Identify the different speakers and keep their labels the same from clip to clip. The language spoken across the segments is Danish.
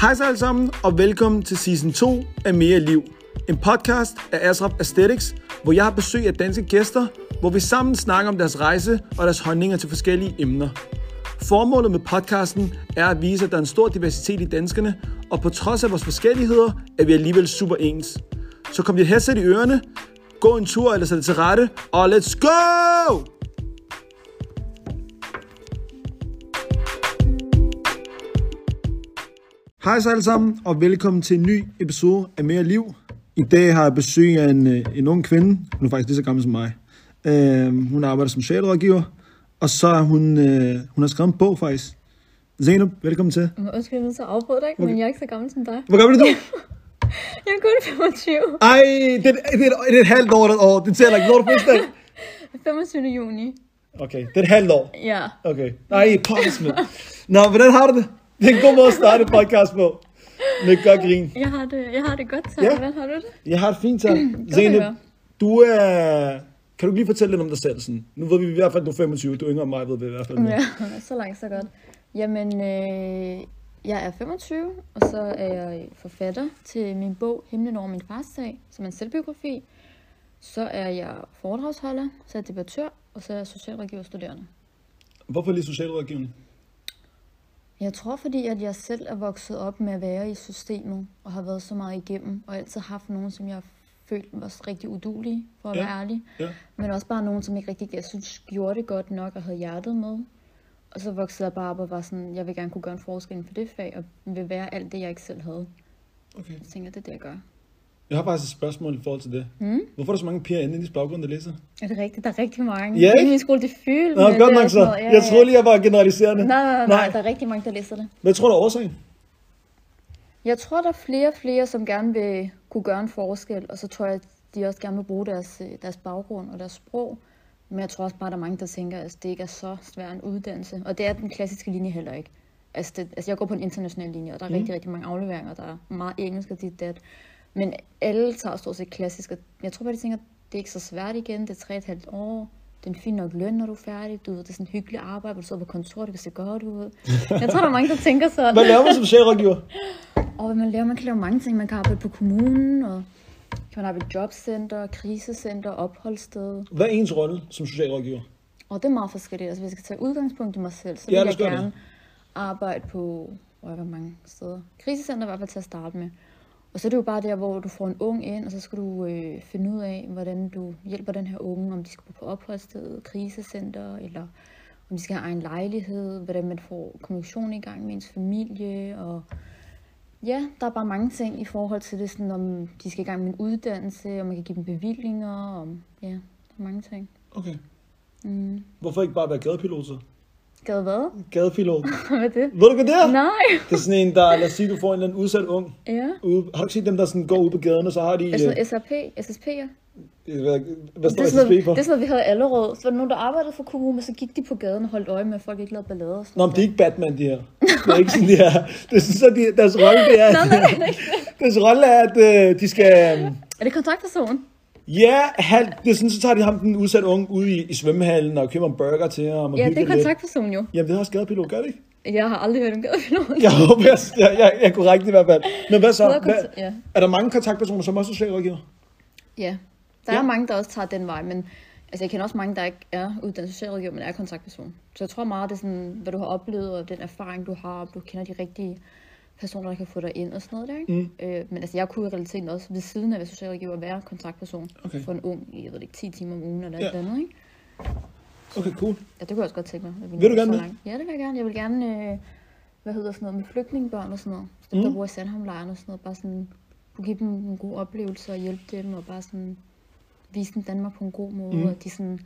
Speaker 1: Hej så alle sammen, og velkommen til season 2 af Mere Liv. En podcast af Asrap Aesthetics, hvor jeg har besøg af danske gæster, hvor vi sammen snakker om deres rejse og deres holdninger til forskellige emner. Formålet med podcasten er at vise, at der er en stor diversitet i danskerne, og på trods af vores forskelligheder, er vi alligevel super ens. Så kom dit headset i ørerne, gå en tur eller sæt det til rette, og let's go! Hej så alle sammen, og velkommen til en ny episode af Mere Liv. I dag har jeg besøg af en, øh, en ung kvinde. Hun er faktisk lige så gammel som mig. Øh, hun arbejder som socialrådgiver, og så er hun, øh, hun har skrevet en bog faktisk. Zeynep, velkommen til.
Speaker 2: Men Undskyld, jeg er nødt til at afbryde dig, okay. men jeg er ikke så gammel som dig.
Speaker 1: Hvor gammel er du?
Speaker 2: Jeg er kun 25.
Speaker 1: Ej, det er, det, er, det er et halvt år, et år. Det tæller ikke. Når du fødselsdag?
Speaker 2: 25. juni.
Speaker 1: Okay, det er et halvt år.
Speaker 2: Ja.
Speaker 1: Okay. Nej, pokkes, mand. Nå, hvordan har du det? Det er en god måde at starte et podcast på. Med et godt grin.
Speaker 2: Jeg har det, jeg har det godt, så
Speaker 1: Ja.
Speaker 2: ja. hvordan har du det?
Speaker 1: Jeg har et fint tak.
Speaker 2: at
Speaker 1: Zeynep,
Speaker 2: høre.
Speaker 1: du er... Kan du ikke lige fortælle lidt om dig selv? Sådan? Nu ved vi i hvert fald, at du er 25. Du er yngre end mig, ved vi i hvert fald. mere.
Speaker 2: Ja, så langt, så godt. Jamen, øh, jeg er 25, og så er jeg forfatter til min bog Himlen over min fars sag, som er en selvbiografi. Så er jeg foredragsholder, så er jeg debattør, og så er jeg socialrådgiver studerende.
Speaker 1: Hvorfor lige socialrådgivning?
Speaker 2: Jeg tror, fordi at jeg selv er vokset op med at være i systemet, og har været så meget igennem, og altid haft nogen, som jeg følte var rigtig udulige, for at
Speaker 1: Ja.
Speaker 2: ja. være ærlig.
Speaker 1: Ja.
Speaker 2: Men også bare nogen, som ikke rigtig, jeg synes, gjorde det godt nok og havde hjertet med. Og så voksede jeg bare op og var sådan, jeg vil gerne kunne gøre en forskel inden for det fag, og vil være alt det, jeg ikke selv havde.
Speaker 1: Okay.
Speaker 2: Jeg tænker, det er det, jeg gør.
Speaker 1: Jeg har faktisk et spørgsmål i forhold til det. Mm? Hvorfor er der så mange piger inde i din baggrund, der læser?
Speaker 2: Er det rigtigt? Der er rigtig mange.
Speaker 1: Ja,
Speaker 2: Inde
Speaker 1: ikke?
Speaker 2: i min skole, det er fyldt.
Speaker 1: Nå,
Speaker 2: med det
Speaker 1: godt
Speaker 2: og
Speaker 1: nok så.
Speaker 2: sådan noget. Ja,
Speaker 1: Jeg
Speaker 2: ja.
Speaker 1: troede lige, jeg var generaliserende.
Speaker 2: Nej, nej, nej, nej, der er rigtig mange, der læser det.
Speaker 1: Hvad tror du er årsagen?
Speaker 2: Jeg tror, der er flere og flere, som gerne vil kunne gøre en forskel, og så tror jeg, at de også gerne vil bruge deres, øh, deres baggrund og deres sprog. Men jeg tror også bare, der er mange, der tænker, at det ikke er så svær en uddannelse. Og det er den klassiske linje heller ikke. Altså, det, altså jeg går på en international linje, og der er mm. rigtig, rigtig mange afleveringer, der er meget engelsk og dit dat. Men alle tager stort set klassisk, og jeg tror bare, de tænker, at det er ikke så svært igen, det er tre et halvt år, det er en fin nok løn, når du er færdig, du ved, det er sådan et hyggeligt arbejde, hvor du sidder på kontoret, det kan se godt ud. Jeg tror, der er mange, der tænker sådan.
Speaker 1: Hvad laver man som socialrådgiver?
Speaker 2: Og hvad man laver, man kan lave mange ting. Man kan arbejde på kommunen, og kan man arbejde i jobcenter, krisecenter, opholdssted.
Speaker 1: Hvad er ens rolle som socialrådgiver?
Speaker 2: Og det er meget forskelligt. Altså, hvis jeg skal tage udgangspunkt i mig selv,
Speaker 1: Ja,
Speaker 2: så vil
Speaker 1: du
Speaker 2: jeg
Speaker 1: skal det.
Speaker 2: gerne arbejde på hvor hvor mange steder. Krisecenter i hvert fald til at starte med. Og så er det jo bare der, hvor du får en ung ind, og så skal du øh, finde ud af, hvordan du hjælper den her unge, om de skal bo på opholdsstedet, krisecenter, eller om de skal have egen lejlighed, hvordan man får kommunikation i gang med ens familie, og Ja, der er bare mange ting i forhold til det, sådan om de skal i gang med en uddannelse, om man kan give dem bevillinger, om, ja, der er mange ting.
Speaker 1: Okay.
Speaker 2: Mm.
Speaker 1: Hvorfor ikke bare være gadepilot så?
Speaker 2: Gad hvad?
Speaker 1: Gadepilot.
Speaker 2: Hvad er det?
Speaker 1: Ved du, hvad det er?
Speaker 2: Nej!
Speaker 1: Det er sådan en, der, lad os sige, du får en eller anden udsat ung.
Speaker 2: Ja. Altså,
Speaker 1: Ude, har du ikke set dem, der sådan går ud på gaden, og så har de...
Speaker 2: Er det sådan
Speaker 1: øh,
Speaker 2: noget SRP? SSP'er?
Speaker 1: Hvad, hvad
Speaker 2: Det
Speaker 1: står
Speaker 2: er,
Speaker 1: SSB
Speaker 2: sådan noget,
Speaker 1: for?
Speaker 2: det er sådan noget, vi havde i Allerød. Så var der nogen, der arbejdede for kommunen, og så gik de på gaden og holdt øje med, at folk ikke lavede ballader og sådan
Speaker 1: Nå, men det er ikke Batman, de her. Det er ikke sådan, de her. Det er sådan, så de, deres rolle, det er, at,
Speaker 2: Nå, nej, nej, nej.
Speaker 1: deres rolle er, at øh, de skal... øh,
Speaker 2: Er det kontaktpersonen?
Speaker 1: Ja, han, det er sådan, så tager de ham, den udsatte unge, ud i, i svømmehallen og køber en burger til ham. Og
Speaker 2: Ja, det
Speaker 1: hygger
Speaker 2: er kontaktpersonen jo.
Speaker 1: Lidt. Jamen, det har også gadepilot, gør det ikke?
Speaker 2: Jeg har aldrig hørt om gadepilot.
Speaker 1: Jeg håber, jeg, jeg, jeg, jeg er korrekt i hvert fald. Men hvad
Speaker 2: Bedre
Speaker 1: så? Hvad,
Speaker 2: kontakt- ja.
Speaker 1: er der mange kontaktpersoner, som også er socialrådgiver?
Speaker 2: Ja, der
Speaker 1: Ja.
Speaker 2: er mange, der også tager den vej, men altså, jeg kender også mange, der ikke er uddannet socialrådgiver, men er kontaktperson. Så jeg tror meget, det er sådan, hvad du har oplevet, og den erfaring, du har, og du kender de rigtige personer, der kan få dig ind og sådan noget der. Ikke? Mm. Øh, men altså, jeg kunne i realiteten også ved siden af at være socialrådgiver være kontaktperson
Speaker 1: Okay.
Speaker 2: for en ung i, jeg ved det ikke, 10 timer om ugen eller
Speaker 1: Ja.
Speaker 2: ja. et eller andet. Ikke?
Speaker 1: Okay, cool.
Speaker 2: Ja, det kunne jeg også godt tænke mig. at vi
Speaker 1: Vil du
Speaker 2: nåede
Speaker 1: gerne
Speaker 2: så
Speaker 1: det?
Speaker 2: langt. Ja, det vil jeg gerne. Jeg vil gerne, øh, hvad hedder sådan noget, med flygtningebørn og sådan noget. Så dem, mm. der bor i Sandhamlejren og sådan noget. Bare sådan, kunne give dem nogle gode oplevelser og hjælpe dem og bare sådan vise dem Danmark på en god måde. Mm. Og de sådan,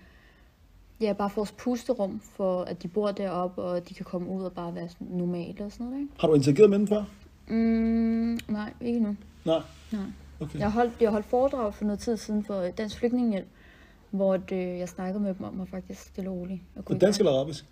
Speaker 2: ja, bare får et pusterum for, at de bor deroppe, og de kan komme ud og bare være sådan normale og sådan noget, ikke?
Speaker 1: Har du interageret med dem før?
Speaker 2: Mm, nej, ikke nu.
Speaker 1: Nej.
Speaker 2: Nej.
Speaker 1: Okay.
Speaker 2: Jeg har holdt, jeg har holdt foredrag for noget tid siden for Dansk Flygtningehjælp, hvor at, øh, jeg snakkede med dem om at faktisk stille og roligt. Og
Speaker 1: På
Speaker 2: kunne
Speaker 1: dansk eller arabisk?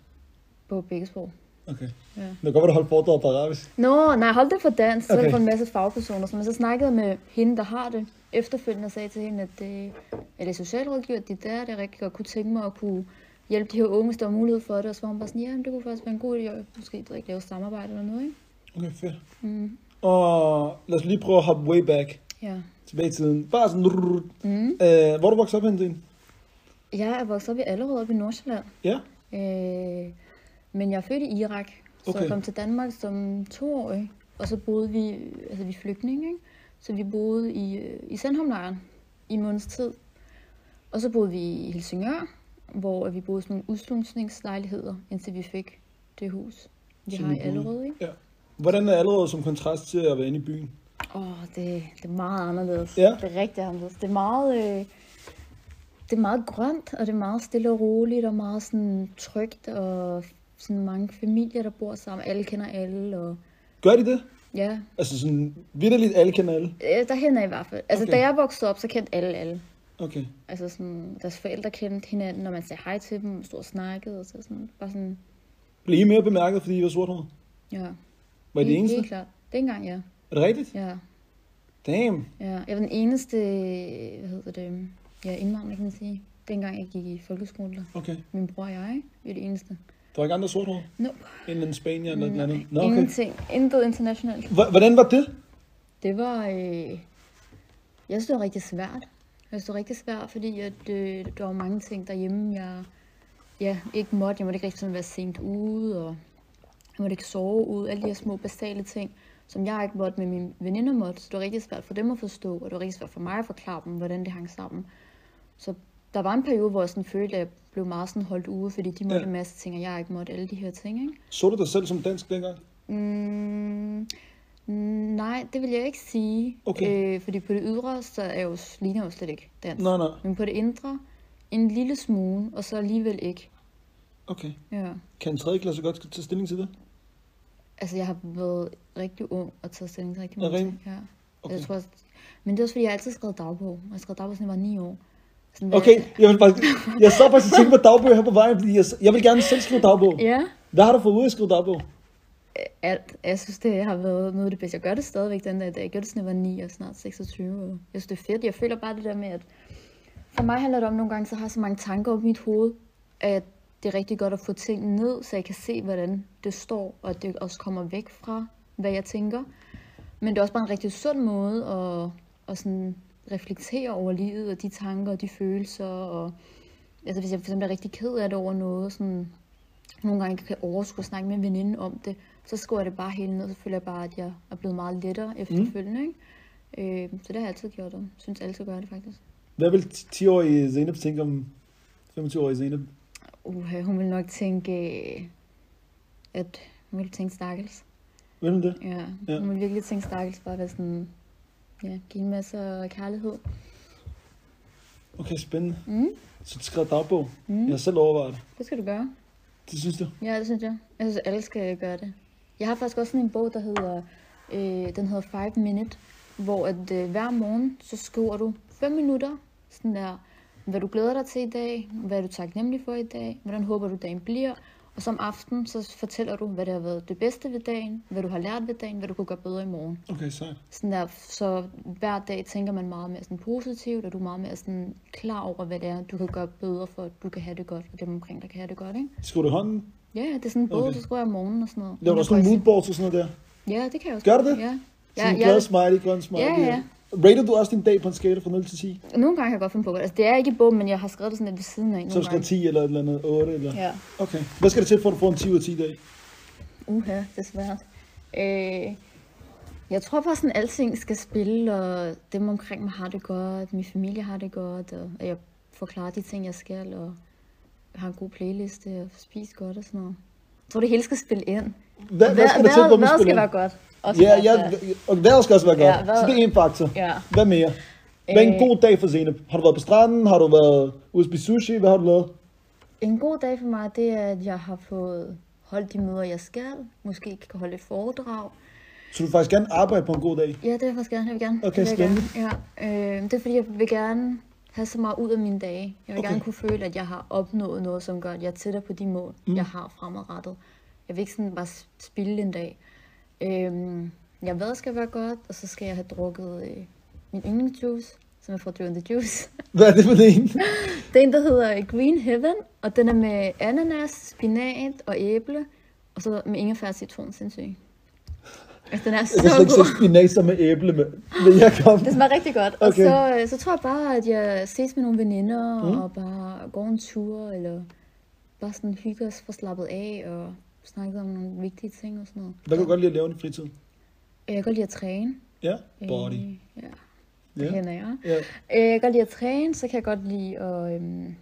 Speaker 2: på begge sprog.
Speaker 1: Okay.
Speaker 2: Ja.
Speaker 1: Det kan godt være, du holdt foredrag på arabisk.
Speaker 2: Nå, nej, hold det for dans. Så okay.
Speaker 1: Okay.
Speaker 2: det for en masse fagpersoner. Så, men så snakkede jeg med hende, der har det efterfølgende, og sagde til hende, at det, eller socialrådgiver, de der, det rigtig godt kunne tænke mig at kunne hjælpe de her unge, hvis der var mulighed for det. Og så var hun bare sådan, ja, men det kunne faktisk være en god idé, at måske det ikke lave samarbejde eller noget, ikke?
Speaker 1: Okay, fedt.
Speaker 2: Mm.
Speaker 1: Og lad os lige prøve at hoppe way back
Speaker 2: Ja.
Speaker 1: tilbage i tiden. Bare sådan... Mm. Øh, hvor er du vokset op henne, Trine?
Speaker 2: Jeg er vokset op i Allerød oppe i Nordsjælland,
Speaker 1: Ja?
Speaker 2: øh, men jeg er født i Irak, så
Speaker 1: Okay.
Speaker 2: jeg kom til Danmark som toårig, og så boede vi, altså vi er flygtninge, ikke? så vi boede i, øh, i Sandhamlejren i en måneds tid. Og så boede vi i Helsingør, hvor vi boede i sådan nogle udslusningslejligheder, indtil vi fik det hus, vi
Speaker 1: Som
Speaker 2: har
Speaker 1: I
Speaker 2: i
Speaker 1: boede i.
Speaker 2: Allerød. Ikke?
Speaker 1: Ja. Hvordan er allerede som kontrast til at være inde i byen?
Speaker 2: Åh, det, det er meget anderledes.
Speaker 1: Ja.
Speaker 2: Det er rigtig anderledes. Det er meget, øh, det er meget grønt, og det er meget stille og roligt, og meget sådan trygt, og sådan mange familier, der bor sammen. Alle kender alle, og
Speaker 1: Gør de det?
Speaker 2: ja,
Speaker 1: Altså sådan vidderligt alle kender alle?
Speaker 2: øh, derhen er i hvert fald. Altså,
Speaker 1: Okay.
Speaker 2: okay. da jeg voksede op, så kendte alle alle.
Speaker 1: Okay.
Speaker 2: Altså sådan, deres forældre kendte hinanden, når man sagde hej til dem, stod og snakkede, og så sådan, bare sådan,
Speaker 1: Blev I mere bemærket, fordi I var sorthåret?
Speaker 2: ja.
Speaker 1: Var I det
Speaker 2: Helt-
Speaker 1: eneste?
Speaker 2: Helt klart. Det er engang, ja.
Speaker 1: Er det rigtigt?
Speaker 2: ja.
Speaker 1: Damn.
Speaker 2: Ja, jeg var den eneste, hvad hedder det, ja, indvandrer, kan man sige. Dengang jeg gik i folkeskole, der.
Speaker 1: Okay.
Speaker 2: Min bror og jeg, ikke? vi er det eneste.
Speaker 1: Der var ikke andre sorthårede?
Speaker 2: No.
Speaker 1: En eller anden spanier eller noget andet? Nå, okay.
Speaker 2: Ingenting. Intet internationalt.
Speaker 1: H- Hvordan var det?
Speaker 2: Det var... Øh... Jeg synes, det var rigtig svært. Jeg synes, det var rigtig svært, fordi at, øh, der var mange ting derhjemme, jeg ja, ikke måtte. Jeg måtte ikke rigtig sådan være sent ude, og jeg måtte ikke sove ude. Alle de her små basale ting, som jeg ikke måtte, men mine veninder måtte. Så det var rigtig svært for dem at forstå, og det var rigtig svært for mig at forklare dem, hvordan det hang sammen. Så der var en periode, hvor jeg sådan følte, at jeg blev meget sådan holdt ude, fordi de måtte
Speaker 1: Ja.
Speaker 2: en masse ting, og jeg ikke måtte alle de her ting. Ikke?
Speaker 1: Så du dig selv som dansk dengang?
Speaker 2: Mm, nej, det vil jeg ikke sige.
Speaker 1: Okay.
Speaker 2: Øh, fordi på det ydre, så er jeg jo, s- ligner jeg jo slet ikke dansk.
Speaker 1: Nej, nej.
Speaker 2: Men på det indre, en lille smule, og så alligevel ikke.
Speaker 1: Okay.
Speaker 2: Ja.
Speaker 1: Kan en tredje klasse godt tage stilling til det?
Speaker 2: Altså, jeg har været rigtig ung og taget stilling til rigtig
Speaker 1: Er
Speaker 2: mange
Speaker 1: det
Speaker 2: ting. Ja.
Speaker 1: Okay.
Speaker 2: Okay. Jeg tror, også- men det er også, fordi jeg har altid skrevet dagbog. Og jeg har skrevet dagbog, siden jeg var ni år. Sådan, hvad-
Speaker 1: Okay, jeg, vil faktisk, jeg sad faktisk og tænkte på dagbøger her på vejen, fordi jeg, jeg vil gerne selv skrive dagbog.
Speaker 2: Ja,
Speaker 1: Hvad har du fået ud af at skrive dagbog?
Speaker 2: alt. Jeg synes, det har været noget af det bedste. Jeg gør det stadigvæk den dag, i dag. jeg gjorde det, siden jeg var 9 og snart 26. Og jeg synes, det er fedt. Jeg føler bare det der med, at for mig handler det om nogle gange, så har jeg så mange tanker op i mit hoved, at det er rigtig godt at få ting ned, så jeg kan se, hvordan det står, og at det også kommer væk fra, hvad jeg tænker. Men det er også bare en rigtig sund måde at, at sådan reflektere over livet og de tanker og de følelser. Og, altså hvis jeg for eksempel er rigtig ked af det over noget, sådan, nogle gange ikke kan overskue at snakke med en veninde om det, så skriver jeg det bare hele ned, så føler jeg bare, at jeg er blevet meget lettere efterfølgende. Mm. Ikke? Øh, så det har jeg altid gjort, og synes alle skal gøre det faktisk.
Speaker 1: Hvad vil 10-årige Zeynep tænke om 25-årige Zeynep?
Speaker 2: Uha, hun vil nok tænke, øh, at hun vil tænke stakkels.
Speaker 1: Ved du det?
Speaker 2: Ja,
Speaker 1: Ja.
Speaker 2: ja. hun vil virkelig tænke stakkels, bare være sådan, ja, give en masse af kærlighed.
Speaker 1: Okay, spændende.
Speaker 2: Mm.
Speaker 1: Så du skrev dagbog.
Speaker 2: Mm.
Speaker 1: Jeg har selv overvejet det.
Speaker 2: Det skal du gøre.
Speaker 1: Det synes du?
Speaker 2: Ja, det synes jeg. Jeg synes, alle skal gøre det. Jeg har faktisk også sådan en bog, der hedder, øh, den hedder 5 Minute, hvor at, øh, hver morgen, så skriver du 5 minutter, sådan der, hvad du glæder dig til i dag, hvad er du taknemmelig for i dag, hvordan håber du dagen bliver, og som aften, så fortæller du, hvad det har været det bedste ved dagen, hvad du har lært ved dagen, hvad du kunne gøre bedre i morgen.
Speaker 1: Okay, sejt.
Speaker 2: Sådan der, så hver dag tænker man meget mere sådan positivt, og du er meget mere sådan klar over, hvad det er, du kan gøre bedre for, at du kan have det godt, og dem omkring dig kan have det godt, ikke?
Speaker 1: Skriver du i hånden?
Speaker 2: Ja, ja, det er sådan en bog,
Speaker 1: Okay.
Speaker 2: okay. så skriver jeg om morgenen og sådan noget.
Speaker 1: Laver du
Speaker 2: Men
Speaker 1: sådan
Speaker 2: jeg
Speaker 1: nogle
Speaker 2: får
Speaker 1: moodboards og sådan noget der?
Speaker 2: ikke- Ja, det kan jeg også.
Speaker 1: Gør du det?
Speaker 2: Ja. Ja,
Speaker 1: Sådan en
Speaker 2: ja,
Speaker 1: glad smiley, grøn smiley.
Speaker 2: Ja, ja.
Speaker 1: Rater du også din dag på en skala fra 0 til 10?
Speaker 2: nogle gange kan jeg godt finde på det. Altså, det er ikke i bogen, men jeg har skrevet det sådan lidt ved siden af. Nogle
Speaker 1: Så du skrev
Speaker 2: gange.
Speaker 1: 10 eller et eller andet, 8 eller...
Speaker 2: Ja.
Speaker 1: Okay. Hvad skal der til, for at du får en 10 ud af 10 dag?
Speaker 2: Uha, det er svært. Øh, jeg tror bare sådan, at alting skal spille, og dem omkring mig har det godt, min familie har det godt, og at jeg får klaret de ting, jeg skal, og har en god playliste, og spiser godt og sådan noget. Jeg tror, det hele skal spille ind.
Speaker 1: Hvad, hvad skal der til, for at man
Speaker 2: hvad skal
Speaker 1: spiller?
Speaker 2: være godt? Også
Speaker 1: Ja,
Speaker 2: hvad
Speaker 1: ja,
Speaker 2: skal-
Speaker 1: og vejret skal også være godt.
Speaker 2: Ja, vejret-
Speaker 1: Så det er en faktor.
Speaker 2: Ja.
Speaker 1: Hvad mere? Hvad er en
Speaker 2: Øh.
Speaker 1: god dag for Zeynep? Har du været på stranden? Har du været ude at spise sushi? Hvad har du lavet?
Speaker 2: En god dag for mig, det er, at jeg har fået holdt de møder, jeg skal. Måske kan holde et foredrag.
Speaker 1: Så du vil faktisk gerne arbejde på en god dag?
Speaker 2: Ja, det vil jeg faktisk gerne. Jeg vil gerne.
Speaker 1: Okay,
Speaker 2: det vil jeg gerne. Ja, øh, det er fordi, jeg vil gerne have så meget ud af mine dage. Jeg
Speaker 1: Okay.
Speaker 2: vil okay. gerne kunne føle, at jeg har opnået noget, som gør, at jeg er tættere på de mål, mm. jeg har fremadrettet. Jeg vil ikke sådan bare s- spilde en dag. Øh, jeg ved, skal være godt, og så skal jeg have drukket øh, min yndlingsjuice, som er fra Drew the Juice.
Speaker 1: Hvad er det for det en?
Speaker 2: Det er en, der hedder Green Heaven, og den er med ananas, spinat og æble, og så med ingefær og citron, sindssygt. Altså, den er så
Speaker 1: Jeg kan slet ikke
Speaker 2: god.
Speaker 1: sætte spinat som med æble med. Vil jeg komme?
Speaker 2: Det smager rigtig godt. Og
Speaker 1: Okay.
Speaker 2: så, øh, så tror jeg bare, at jeg ses med nogle veninder, mm. og bare går en tur, eller bare sådan hygger os for slappet af, og snakker om nogle vigtige ting og sådan noget.
Speaker 1: Hvad kan du godt lide at lave i din fritid?
Speaker 2: Jeg kan godt lide at træne.
Speaker 1: Ja, body.
Speaker 2: Øh, Ja, det
Speaker 1: Ja.
Speaker 2: kender jeg.
Speaker 1: ja.
Speaker 2: Øh, Jeg kan godt lide at træne, så kan jeg godt lide at, øhm,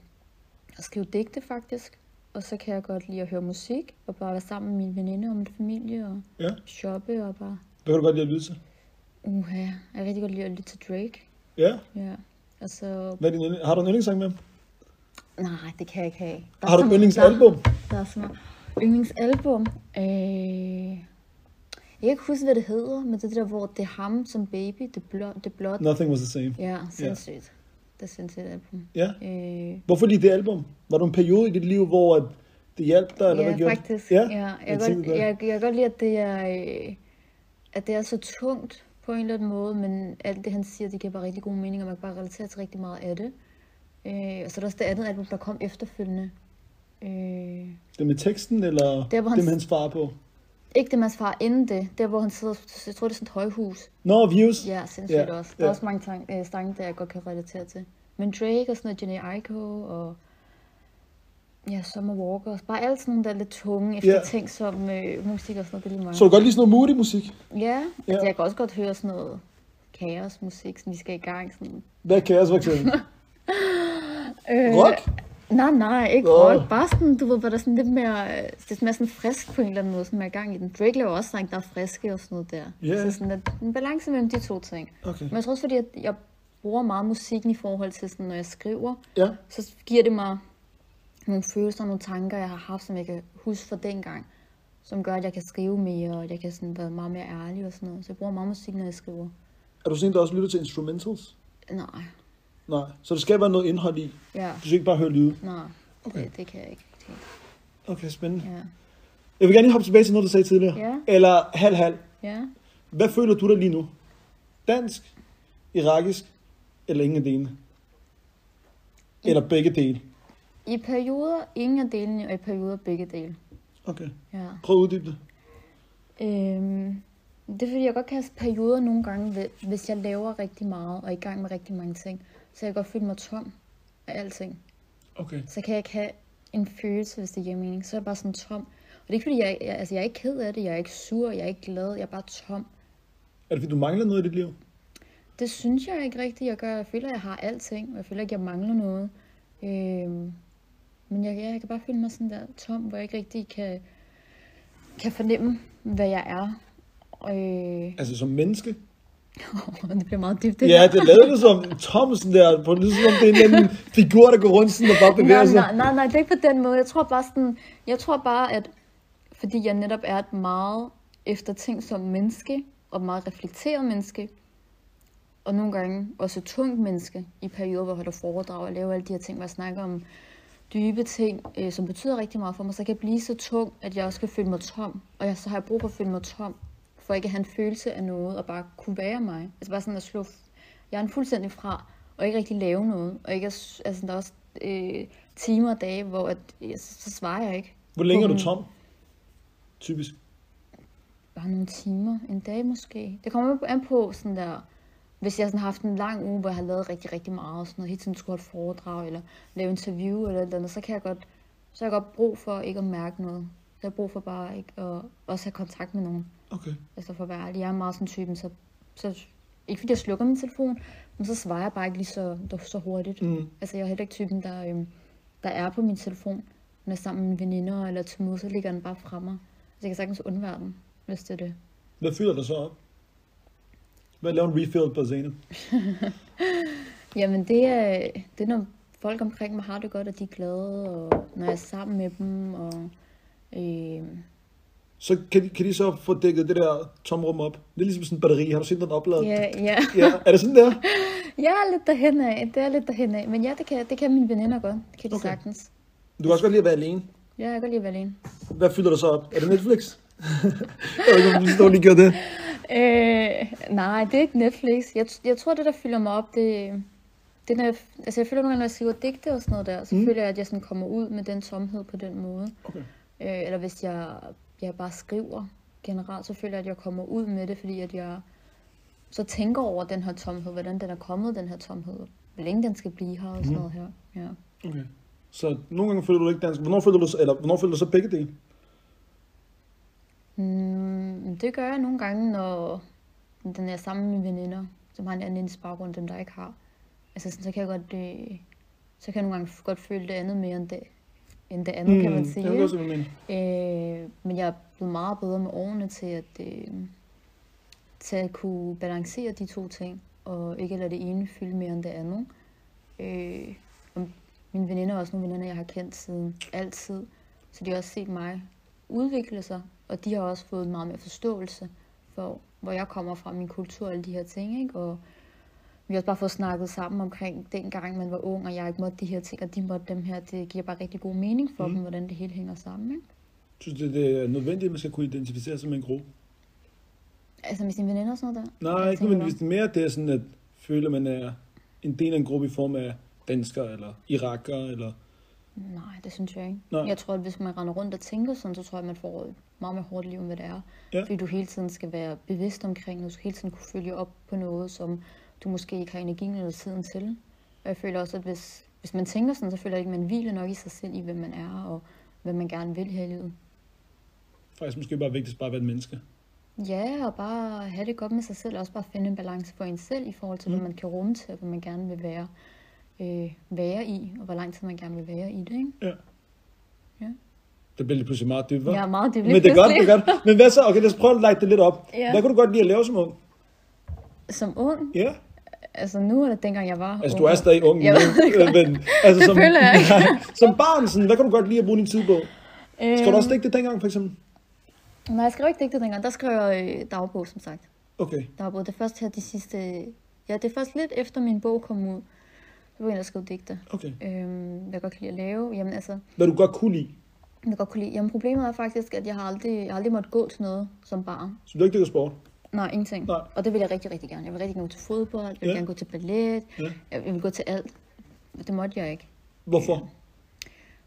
Speaker 2: at skrive digte faktisk. Og så kan jeg godt lide at høre musik, og bare være sammen med mine veninder og min familie, og
Speaker 1: ja.
Speaker 2: shoppe, og bare,
Speaker 1: Hvad kan du godt lide at lytte til?
Speaker 2: uha, jeg kan rigtig godt lide at lytte til Drake.
Speaker 1: Ja.
Speaker 2: Ja, og så
Speaker 1: Hvad er din yndling? Har du en yndlingssang med?
Speaker 2: Nej, det kan jeg ikke have. Der
Speaker 1: Har du et
Speaker 2: et
Speaker 1: yndlingsalbum?
Speaker 2: Der, der er så meget. Yndlingsalbum? Øh, jeg kan ikke huske, hvad det hedder, men det er det der, hvor det er ham som baby, det er blå, det er blåt.
Speaker 1: Nothing was the same.
Speaker 2: Ja, sindssygt. Det er sindssygt album.
Speaker 1: Ja.
Speaker 2: Øh,
Speaker 1: Hvorfor lige det album? Var der en periode i dit liv, hvor at det hjalp dig? Eller hvad
Speaker 2: ja,
Speaker 1: gjorde? det?
Speaker 2: faktisk.
Speaker 1: Ja,
Speaker 2: Ja, jeg, jeg,
Speaker 1: tænkte
Speaker 2: godt,
Speaker 1: det.
Speaker 2: jeg, jeg kan godt lide, at det er, øh, at det er så tungt på en eller anden måde, men alt det, han siger, det giver bare rigtig god mening, og man kan bare relatere til rigtig meget af det. Øh, og så er der også det andet album, der kom efterfølgende. Øh,
Speaker 1: Det med teksten, eller
Speaker 2: Der, hvor han-
Speaker 1: det med hans far på?
Speaker 2: Ikke det, man svarer inden det. Der, hvor han sidder, jeg tror, det er sådan et højhus.
Speaker 1: Nå, views.
Speaker 2: Ja, sindssygt
Speaker 1: Ja,
Speaker 2: ja, også. Der er
Speaker 1: ja.
Speaker 2: også mange tang- øh, sange, der jeg godt kan relatere til. Men Drake og sådan noget, Jenny Aiko og ja, Summer Walker. Bare alle sådan nogle, der er lidt tunge, eftertænksomme øh, musik og sådan noget, det er lige meget.
Speaker 1: Så du godt lide sådan noget moody musik?
Speaker 2: Ja,
Speaker 1: Ja.
Speaker 2: altså, jeg kan også godt høre sådan noget kaosmusik, sådan, vi skal i gang. Sådan.
Speaker 1: Hvad kan jeg så for eksempel?
Speaker 2: Øh,
Speaker 1: Rock?
Speaker 2: Nej, nej, ikke
Speaker 1: Nå.
Speaker 2: rock. Bare sådan, du ved, hvor der er sådan lidt mere, øh, det smager sådan frisk på en eller anden måde, sådan mere gang i den. Drake laver også sang, der er friske og sådan noget der.
Speaker 1: Ja.
Speaker 2: Så sådan lidt en balance mellem de to ting.
Speaker 1: Okay.
Speaker 2: Men jeg tror også, fordi jeg, jeg bruger meget musikken i forhold til, sådan, når jeg skriver,
Speaker 1: Ja.
Speaker 2: så giver det mig nogle følelser og nogle tanker, jeg har haft, som jeg kan huske fra dengang, som gør, at jeg kan skrive mere, og jeg kan sådan være meget mere ærlig og sådan noget. Så jeg bruger meget musik, når jeg skriver.
Speaker 1: Er du sådan en, der også lytter til instrumentals?
Speaker 2: Nej,
Speaker 1: Nej. Så der skal være noget indhold i.
Speaker 2: ja,
Speaker 1: Du skal ikke bare høre lyde.
Speaker 2: nej,
Speaker 1: Okay.
Speaker 2: okay. det, det kan jeg ikke. rigtig.
Speaker 1: Okay, spændende.
Speaker 2: Ja,
Speaker 1: Jeg vil gerne lige hoppe tilbage til noget, du sagde tidligere.
Speaker 2: Ja.
Speaker 1: Eller halv-halv.
Speaker 2: ja.
Speaker 1: Hvad føler du dig lige nu? Dansk, irakisk eller ingen af delene? Eller begge dele?
Speaker 2: I perioder ingen af delene, og i perioder begge dele.
Speaker 1: Okay.
Speaker 2: Ja.
Speaker 1: Prøv at uddybe det.
Speaker 2: Øhm, det er fordi, jeg godt kan have perioder nogle gange, hvi- hvis jeg laver rigtig meget og er i gang med rigtig mange ting, så jeg kan godt føle mig tom af alting.
Speaker 1: Okay.
Speaker 2: Så kan jeg ikke have en følelse, hvis det giver mening. Så er jeg bare sådan tom. Og det er ikke fordi, jeg, jeg, altså, jeg er ikke ked af det, jeg er ikke sur, jeg er ikke glad, jeg er bare tom.
Speaker 1: Er det fordi, du mangler noget i dit liv?
Speaker 2: Det synes jeg ikke rigtigt, jeg gør. Jeg føler, at jeg har alting, og jeg føler ikke, jeg mangler noget. Øhm, men jeg, ja, jeg kan bare føle mig sådan der tom, hvor jeg ikke rigtig kan, kan fornemme, hvad jeg er. Øh,
Speaker 1: Altså som menneske?
Speaker 2: det bliver meget dybt.
Speaker 1: Det ja, det lavede du som Tom sådan der, på lidt som om det er en eller anden figur, der går rundt sådan og bare bevæger
Speaker 2: nej,
Speaker 1: sig.
Speaker 2: nej, nej, nej, det er ikke på den måde. Jeg tror bare sådan, jeg tror bare, at fordi jeg netop er et meget eftertænksomt menneske, og meget reflekteret menneske, og nogle gange også et tungt menneske i perioder, hvor jeg holder foredrag og laver alle de her ting, hvor jeg snakker om dybe ting, øh, som betyder rigtig meget for mig, så kan jeg blive så tung, at jeg også kan føle mig tom. Og jeg, så har jeg brug for at føle mig tom, for ikke at have en følelse af noget, og bare kunne være mig. Altså bare sådan at slå hjernen fuldstændig fra, og ikke rigtig lave noget. Og ikke, at s- altså, der er også øh, timer og dage, hvor at, øh, så, så svarer jeg ikke.
Speaker 1: Hvor længe er du
Speaker 2: Mhm.
Speaker 1: tom? Typisk.
Speaker 2: Bare nogle timer, en dag måske. Det kommer an på sådan der, hvis jeg sådan har haft en lang uge, hvor jeg har lavet rigtig, rigtig meget, og sådan noget, hele tiden skulle holde foredrag, eller lave interview, eller et eller andet, så kan jeg godt, så har jeg godt brug for ikke at mærke noget. Så har jeg brug for bare ikke at også have kontakt med nogen.
Speaker 1: Okay.
Speaker 2: Altså for at være ærlig, jeg er meget sådan typen, så, så ikke fordi jeg slukker min telefon, men så svarer jeg bare ikke lige så, så hurtigt.
Speaker 1: Mm.
Speaker 2: Altså jeg er heller ikke typen, der, øhm, der er på min telefon, når jeg er sammen med mine veninder eller til møde, så ligger den bare fra mig. Så jeg kan sagtens undvære den, hvis det er det.
Speaker 1: Hvad fylder du så op? Hvad laver en refill på scenen?
Speaker 2: Jamen det er, det er, når folk omkring mig har det godt, og de er glade, og når jeg er sammen med dem, og øh,
Speaker 1: Så kan de, kan de så få dækket det der tomrum op? Det er ligesom sådan en batteri. Har du set den opladet?
Speaker 2: ja, ja.
Speaker 1: ja. Er det sådan der?
Speaker 2: Jeg er lidt derhen af, det er lidt derhen af, men ja, det kan, det kan mine veninder godt, det kan de
Speaker 1: Okay.
Speaker 2: okay. sagtens.
Speaker 1: Du kan også godt lide at være alene.
Speaker 2: Ja, jeg kan godt lide at være alene.
Speaker 1: Hvad fylder du så op? Er det Netflix? jeg ved ikke, om du forstår, lige gjorde det.
Speaker 2: Øh, nej, det er ikke Netflix. Jeg, jeg tror, det, der fylder mig op, det, det er, når jeg, altså jeg føler nogle gange, når jeg skriver digte og sådan noget der, så mm. føler jeg, at jeg sådan kommer ud med den tomhed på den måde.
Speaker 1: Okay.
Speaker 2: Øh, eller hvis jeg, jeg bare skriver, generelt, så føler jeg, at jeg kommer ud med det, fordi at jeg så tænker over den her tomhed, hvordan den er kommet, den her tomhed, hvor længe den skal blive her og sådan noget her. Ja.
Speaker 1: Okay. Så nogle gange føler du ikke dansk. Hvornår føler du, eller, hvornår føler du så begge dele?
Speaker 2: Mm, det gør jeg nogle gange, når den er sammen med veninder, som har en anden etnisk baggrund, end dem der ikke har. Altså sådan, så kan jeg godt, øh, så kan jeg nogle gange godt føle det andet mere end det, end det andet, mm, kan man sige.
Speaker 1: Hmm. Jeg kan
Speaker 2: ikke?
Speaker 1: godt se, hvad du mener.
Speaker 2: Øh, men jeg er blevet meget bedre med årene til at, øh, til at kunne balancere de to ting, og ikke lade det ene fylde mere end det andet. Øh, og mine veninder er også nogle veninder, jeg har kendt siden altid, så de har også set mig udvikle sig, og de har også fået meget mere forståelse for, hvor jeg kommer fra, min kultur og alle de her ting, ikke? Og vi har også bare fået snakket sammen omkring dengang man var ung, og jeg ikke måtte de her ting, og de måtte dem her. Det giver bare rigtig god mening for mm. dem, hvordan det hele hænger sammen, ikke?
Speaker 1: Synes du, det er nødvendigt, at man skal kunne identificere sig med en gruppe?
Speaker 2: Altså med sine veninder og sådan noget der?
Speaker 1: Nej,
Speaker 2: Jeg
Speaker 1: ikke
Speaker 2: tænker
Speaker 1: men hvis
Speaker 2: bare,
Speaker 1: det mere det er sådan, at føler man er en del af en gruppe i form af danskere, eller irakere, eller...
Speaker 2: Nej, det synes jeg ikke.
Speaker 1: Nej.
Speaker 2: Nej. Jeg tror, at hvis man render rundt og tænker sådan, så tror jeg, at man får et meget mere hårdt liv, end hvad det er.
Speaker 1: Ja.
Speaker 2: Fordi du hele tiden skal være bevidst omkring noget. Du skal hele tiden kunne følge op på noget, som du måske ikke har energien eller tiden til. Og jeg føler også, at hvis, hvis man tænker sådan, så føler jeg ikke, at man hviler nok i sig selv i, hvem man er, og hvad man gerne vil her i livet.
Speaker 1: Faktisk måske bare vigtigst bare at være et menneske.
Speaker 2: Ja, og bare have det godt med sig selv, og også bare finde en balance for en selv i forhold til, mm. hvad man kan rumme til, og hvad man gerne vil være, øh, være i, og hvor lang tid man gerne vil være i det, ikke?
Speaker 1: Ja.
Speaker 2: Ja.
Speaker 1: Det bliver lige pludselig meget dybt, hva'?
Speaker 2: Jeg er meget dybt
Speaker 1: Men det er godt, det
Speaker 2: pludselig.
Speaker 1: er godt. Men hvad så? Okay, lad os prøve at lægge det lidt op.
Speaker 2: Ja.
Speaker 1: Hvad kunne du godt lide at lave som ung?
Speaker 2: Som ung,
Speaker 1: Ja.
Speaker 2: altså nu eller dengang jeg var
Speaker 1: Altså,
Speaker 2: ung.
Speaker 1: du er stadig ung
Speaker 2: Jeg
Speaker 1: nu,
Speaker 2: ved det
Speaker 1: øh, men... Altså,
Speaker 2: Det føler jeg ikke.
Speaker 1: som barn, sådan, hvad kan du godt lide at bruge din tid på? Skal du
Speaker 2: Øhm.
Speaker 1: også digte det dengang, for eksempel?
Speaker 2: Øh, Nej, jeg skrev ikke digte dengang. Der skrev jeg øh, dagbog, som sagt.
Speaker 1: Okay.
Speaker 2: Dagbog, det er først her de sidste... Ja, det er først lidt efter min bog kom ud, så begyndte jeg at skrive digte.
Speaker 1: Okay.
Speaker 2: Øhm, hvad jeg godt kan lide at lave. Jamen altså,
Speaker 1: Hvad du godt kunne lide.
Speaker 2: hvad jeg godt kunne lide. Jamen problemet er faktisk, at jeg har aldrig, jeg har aldrig måtte gå til noget som barn.
Speaker 1: Så du ikke dyrker sport?
Speaker 2: Nej, ingenting.
Speaker 1: Nej.
Speaker 2: Og det vil jeg rigtig, rigtig gerne. Jeg vil rigtig gerne gå til fodbold, jeg vil
Speaker 1: Ja.
Speaker 2: gerne gå til ballet,
Speaker 1: Ja.
Speaker 2: jeg vil gå til alt. Og Det måtte jeg ikke.
Speaker 1: Hvorfor?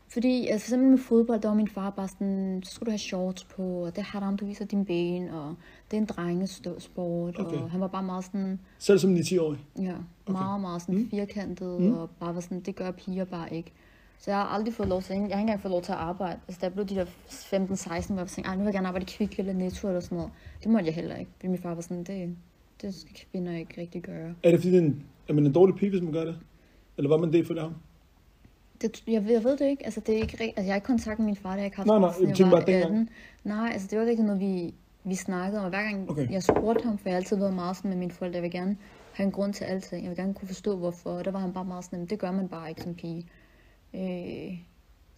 Speaker 2: Fordi altså, for eksempel med fodbold, der var min far bare sådan, så skulle du have shorts på, og det har du, du viser dine ben, og det er en drengesport, okay.
Speaker 1: Okay.
Speaker 2: og han var bare meget sådan,
Speaker 1: Selv som 9-10-årig?
Speaker 2: ja, meget, meget sådan firkantet, og bare var sådan, det gør piger bare ikke. Så jeg har aldrig fået lov til, jeg har ikke engang fået lov til at arbejde. Altså, da jeg blev de der 15-16, var jeg sådan, "Ej, nu vil jeg gerne arbejde i Kvickly eller Netto eller sådan noget. Det måtte jeg heller ikke, fordi min far var sådan, det, det skal kvinder ikke rigtig gøre.
Speaker 1: Er det fordi, det er, en, er man en dårlig pige, hvis man gør det? Eller var man det ifølge ham?
Speaker 2: Det, jeg, ved, jeg ved det ikke. Altså, det er ikke rigt- altså, jeg har ikke kontakt med min far, det har jeg ikke haft
Speaker 1: Nej, nej,
Speaker 2: siden
Speaker 1: jeg tænker
Speaker 2: var
Speaker 1: bare dengang.
Speaker 2: 18. Nej, altså det var ikke rigtig noget, vi, vi snakkede om. Og Hver gang
Speaker 1: Okay.
Speaker 2: okay. jeg spurgte ham, for jeg har altid været meget sådan med mine forældre, jeg vil gerne have en grund til alting. Jeg vil gerne kunne forstå, hvorfor. Og der var han bare meget sådan, "Jamen, det gør man bare ikke som pige. Øh,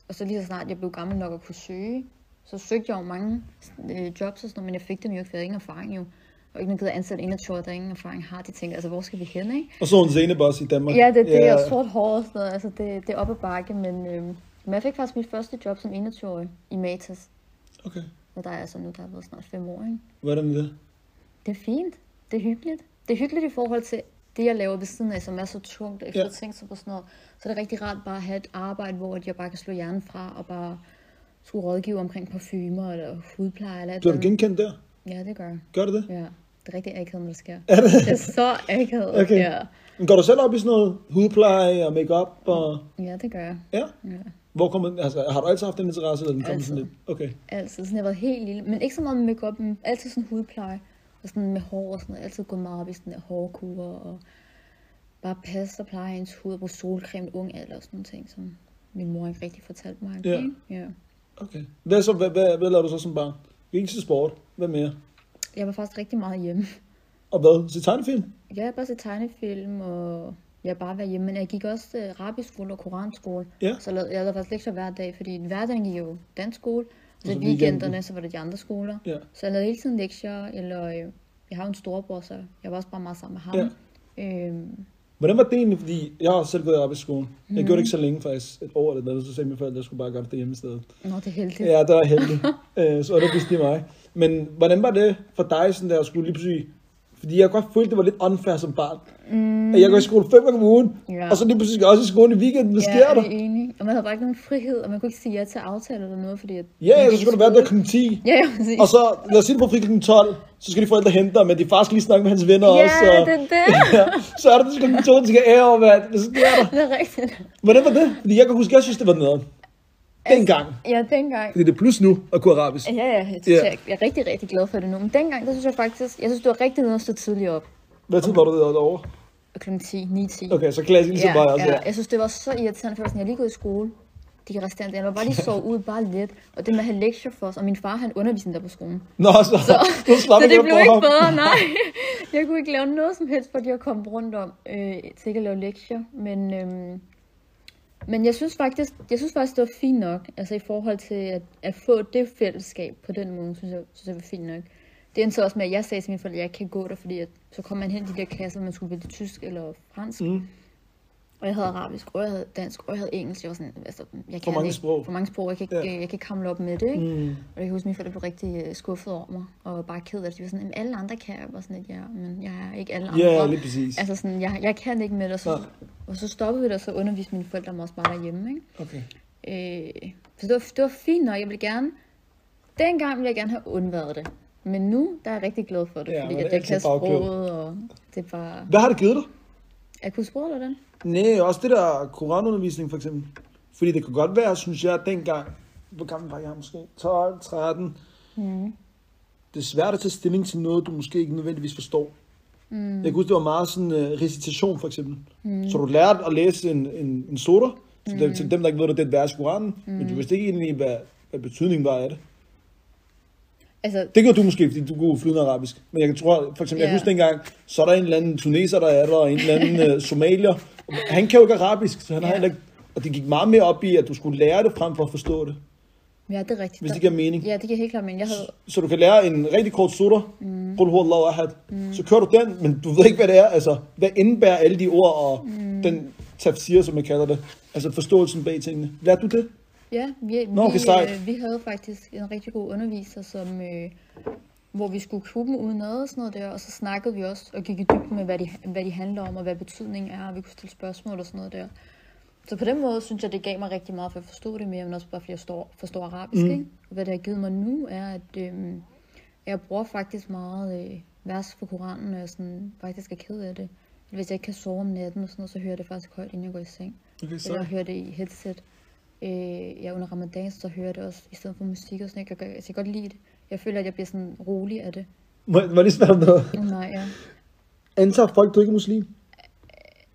Speaker 2: og så lige så snart jeg blev gammel nok at kunne søge, så søgte jeg jo mange øh, jobs og sådan noget, men jeg fik dem jo ikke, for jeg havde ingen erfaring jo. Og ikke nogen gider ansætte 21, der ingen erfaring har. De tænker, altså hvor skal vi hen, ikke?
Speaker 1: Og så en Zenebos i Danmark.
Speaker 2: Ja, det er det,
Speaker 1: Ja.
Speaker 2: og sort hår og sådan noget. Altså, det, det er op ad bakke, men, øhm, men jeg fik faktisk mit første job som 21-årig i Matas.
Speaker 1: Okay.
Speaker 2: Og der er jeg så nu, der er været snart fem år, ikke?
Speaker 1: Hvordan er det?
Speaker 2: Det er fint. Det er hyggeligt. Det er hyggeligt i forhold til det, jeg laver ved siden af, som er så tungt og
Speaker 1: Ja.
Speaker 2: ekstra ting på sådan noget. Så det er rigtig rart bare at have et arbejde, hvor jeg bare kan slå hjernen fra og bare skulle rådgive omkring parfumer eller hudpleje eller et
Speaker 1: Bliver du
Speaker 2: eller andet.
Speaker 1: genkendt der?
Speaker 2: Ja, det gør jeg.
Speaker 1: Gør du det?
Speaker 2: Ja, det er rigtig akavet, når det sker. Er det? det er så akavet.
Speaker 1: Okay.
Speaker 2: Ja.
Speaker 1: Men Går du selv op i sådan noget hudpleje og makeup og...
Speaker 2: ja, det gør jeg.
Speaker 1: Ja?
Speaker 2: Ja. Altså.
Speaker 1: Hvor kommer den, altså, har du altid haft den interesse, eller den kommer sådan
Speaker 2: Altid.
Speaker 1: lidt? Okay.
Speaker 2: Altid. Sådan, jeg har været helt lille. Men ikke så meget med makeup, men altid sådan hudpleje. Og sådan med hår og sådan noget. Altid gået meget op i sådan der hårkurer og bare passe og pleje ens hud og bruge solcreme i ung alder og sådan nogle ting, som min mor ikke rigtig fortalte mig.
Speaker 1: Ja.
Speaker 2: ikke? ja.
Speaker 1: Okay. Hvad, så, hvad, hvad, hvad lavede du så som barn? Ikke til sport. Hvad mere?
Speaker 2: Jeg var faktisk rigtig meget hjemme.
Speaker 1: Og hvad? Se tegnefilm?
Speaker 2: Jeg har bare set tegnefilm og jeg bare været hjemme, men jeg gik også øh, arabiskole og koranskole.
Speaker 1: Ja.
Speaker 2: Så lavede, jeg lavede faktisk lektier hver dag, fordi hverdagen gik jo dansk skole, og
Speaker 1: så
Speaker 2: så
Speaker 1: Altså weekenden.
Speaker 2: weekenderne, så var det de andre skoler.
Speaker 1: Ja.
Speaker 2: Så jeg lavede hele tiden lektier, eller øh, jeg har jo en storebror, så jeg var også bare meget sammen med ham. Ja. Øhm,
Speaker 1: Hvordan var det egentlig? Fordi jeg har selv gået op i skolen.
Speaker 2: Mhm.
Speaker 1: Jeg gjorde det ikke så længe faktisk. Et år eller noget. Så sagde mine forældre, at jeg skulle bare gøre det hjemme i stedet.
Speaker 2: nå, det er heldigt.
Speaker 1: Ja, det var heldigt. Øh, så det vidste de mig. Men hvordan var det for dig sådan der, at skulle lige pludselig Fordi jeg godt følte, det var lidt unfair som barn. Mm. At jeg går i skole fem gange om ugen,
Speaker 2: Ja.
Speaker 1: og så lige pludselig skal jeg også i skole i weekenden. Hvad
Speaker 2: Ja,
Speaker 1: sker
Speaker 2: er
Speaker 1: der?
Speaker 2: det enig. Og man havde bare ikke nogen frihed, og man kunne ikke sige ja til aftaler eller noget, fordi... At
Speaker 1: Ja, ja, så
Speaker 2: man
Speaker 1: skulle du
Speaker 2: gik i
Speaker 1: være der
Speaker 2: skole.
Speaker 1: kl. 10.
Speaker 2: Ja, ja, præcis.
Speaker 1: Og så, lad os sige det på fri kl. 12, så skal de forældre hente dig, men de faktisk lige snakke med hans venner
Speaker 2: ja,
Speaker 1: også. Og,
Speaker 2: det er det.
Speaker 1: ja, så er det til kl. 2, de skal ære, hvad, hvad sker der?
Speaker 2: det er rigtigt.
Speaker 1: Hvordan var det? Fordi jeg kan huske, jeg synes, det var nederen. Dengang.
Speaker 2: Ja, dengang.
Speaker 1: Fordi det er plus nu at kunne arabisk.
Speaker 2: Ja, ja, jeg, synes, jeg, jeg er rigtig, rigtig glad for det nu. Men dengang, der synes jeg faktisk, jeg synes, du var rigtig nødt til at stå tidligt op.
Speaker 1: Hvad tid var du derovre?
Speaker 2: Klokken 10, 9, 10.
Speaker 1: Okay, så klassisk ligesom mig også. Ja.
Speaker 2: ja. Jeg synes, det var så irriterende, for jeg var sådan, jeg lige gået i skole. De resterende, jeg var bare lige sove ud, bare lidt. Og det med at have lektier for os, og min far, han underviste der på skolen.
Speaker 1: Nå, så, så, så slap
Speaker 2: Så
Speaker 1: jeg
Speaker 2: det
Speaker 1: godt
Speaker 2: blev
Speaker 1: for
Speaker 2: ikke
Speaker 1: ham.
Speaker 2: bedre, nej. Jeg kunne ikke lave noget som helst, fordi jeg kom rundt om øh, til ikke at lave lektier. Men, øhm, men jeg synes faktisk, jeg synes faktisk, det var fint nok. Altså i forhold til at, at få det fællesskab på den måde, synes jeg, synes jeg var fint nok. Det endte så også med, at jeg sagde til mine forældre, at jeg ikke kan gå der, fordi at, så kom man hen i de der kasser, man skulle vælge tysk eller fransk.
Speaker 1: Mm.
Speaker 2: Og jeg havde arabisk, og jeg havde dansk, og jeg havde engelsk. Jeg var sådan, altså, jeg kan
Speaker 1: mange
Speaker 2: ikke,
Speaker 1: sprog.
Speaker 2: For mange sprog. Jeg kan, ikke,
Speaker 1: Ja.
Speaker 2: ja. jeg kan ikke hamle op med det, ikke?
Speaker 1: Mm.
Speaker 2: Og jeg kan huske, at mine forældre blev rigtig øh, skuffet over mig, og var bare ked af det. De var sådan, "Jamen, alle andre kan, jeg var sådan lidt, ja, men jeg er ikke alle andre.
Speaker 1: Ja, lige præcis.
Speaker 2: Altså sådan, jeg, jeg kan ikke med det, og så,
Speaker 1: Nej.
Speaker 2: og så stoppede vi det, og så underviste mine forældre mig også bare derhjemme, ikke?
Speaker 1: Okay.
Speaker 2: Øh, så det var, det var fint nok, jeg ville gerne, dengang ville jeg gerne have undværet det. Men nu, der er jeg rigtig glad for det,
Speaker 1: Ja,
Speaker 2: ja, fordi
Speaker 1: men det
Speaker 2: at
Speaker 1: er
Speaker 2: jeg kan
Speaker 1: altid bagklogt.
Speaker 2: sproget, og det er bare...
Speaker 1: Hvad har det givet dig?
Speaker 2: Jeg kunne sproget, eller den?
Speaker 1: Nej, også det der koranundervisning for eksempel. Fordi det kunne godt være, synes jeg, dengang, hvor gammel var jeg måske? 12, 13. Mm. Det er svært at tage stilling til noget, du måske ikke nødvendigvis forstår. Mm. Jeg kan huske, det var meget sådan uh, recitation for eksempel. Mm. Så du lærte at læse en, en, en sura, til, dem, til dem, der ikke ved, at det er et vers i Koranen, mm. men du vidste ikke egentlig, hvad, hvad betydningen var af det.
Speaker 2: Altså,
Speaker 1: Det gjorde du måske, fordi du kunne flydende arabisk. Men jeg tror, for eksempel, yeah.
Speaker 2: Ja.
Speaker 1: jeg husker dengang, så er der en eller anden tuneser, der er der, og en eller anden uh, somalier. Han kan jo ikke arabisk, så han yeah. har
Speaker 2: Ja.
Speaker 1: heller ikke... Og det gik meget mere op i, at du skulle lære det frem for at forstå det,
Speaker 2: ja, det er rigtigt.
Speaker 1: hvis det giver mening.
Speaker 2: Ja, det giver helt klart mening. Jeg havde,
Speaker 1: Så du kan lære en rigtig kort sutter, mm. Qul huwallahu ahad, mm. så kører du den, men du ved ikke, hvad det er. Altså, hvad indebærer alle de ord og mm. den tafsir, som jeg kalder det? Altså forståelsen bag tingene. Lærte du det?
Speaker 2: Ja, vi,
Speaker 1: Nå, okay,
Speaker 2: vi,
Speaker 1: sejt.
Speaker 2: øh, vi havde faktisk en rigtig god underviser, som, øh, hvor vi skulle klubben uden ad og sådan noget der, og så snakkede vi også og gik i dybden med, hvad de, hvad de handler om, og hvad betydningen er, og vi kunne stille spørgsmål og sådan noget der. Så på den måde synes jeg, det gav mig rigtig meget, for jeg forstod det mere, men også bare fordi jeg står, forstår arabisk. Mm. Ikke? Og hvad det har givet mig nu, er, at øh, jeg bruger faktisk meget øh, vers fra Koranen, når jeg sådan, faktisk er ked af det. Hvis jeg ikke kan sove om natten og sådan noget, så hører jeg det faktisk højt, inden jeg går i seng.
Speaker 1: Okay,
Speaker 2: Eller jeg hører det i headset. Øh, jeg under ramadan, så hører jeg det også i stedet for musik og sådan noget. Jeg kan, jeg kan godt lide det. Jeg føler, at jeg bliver sådan rolig af det.
Speaker 1: Må, må jeg lige spørge om noget?
Speaker 2: Oh, nej, ja.
Speaker 1: Antager folk, du ikke er muslim?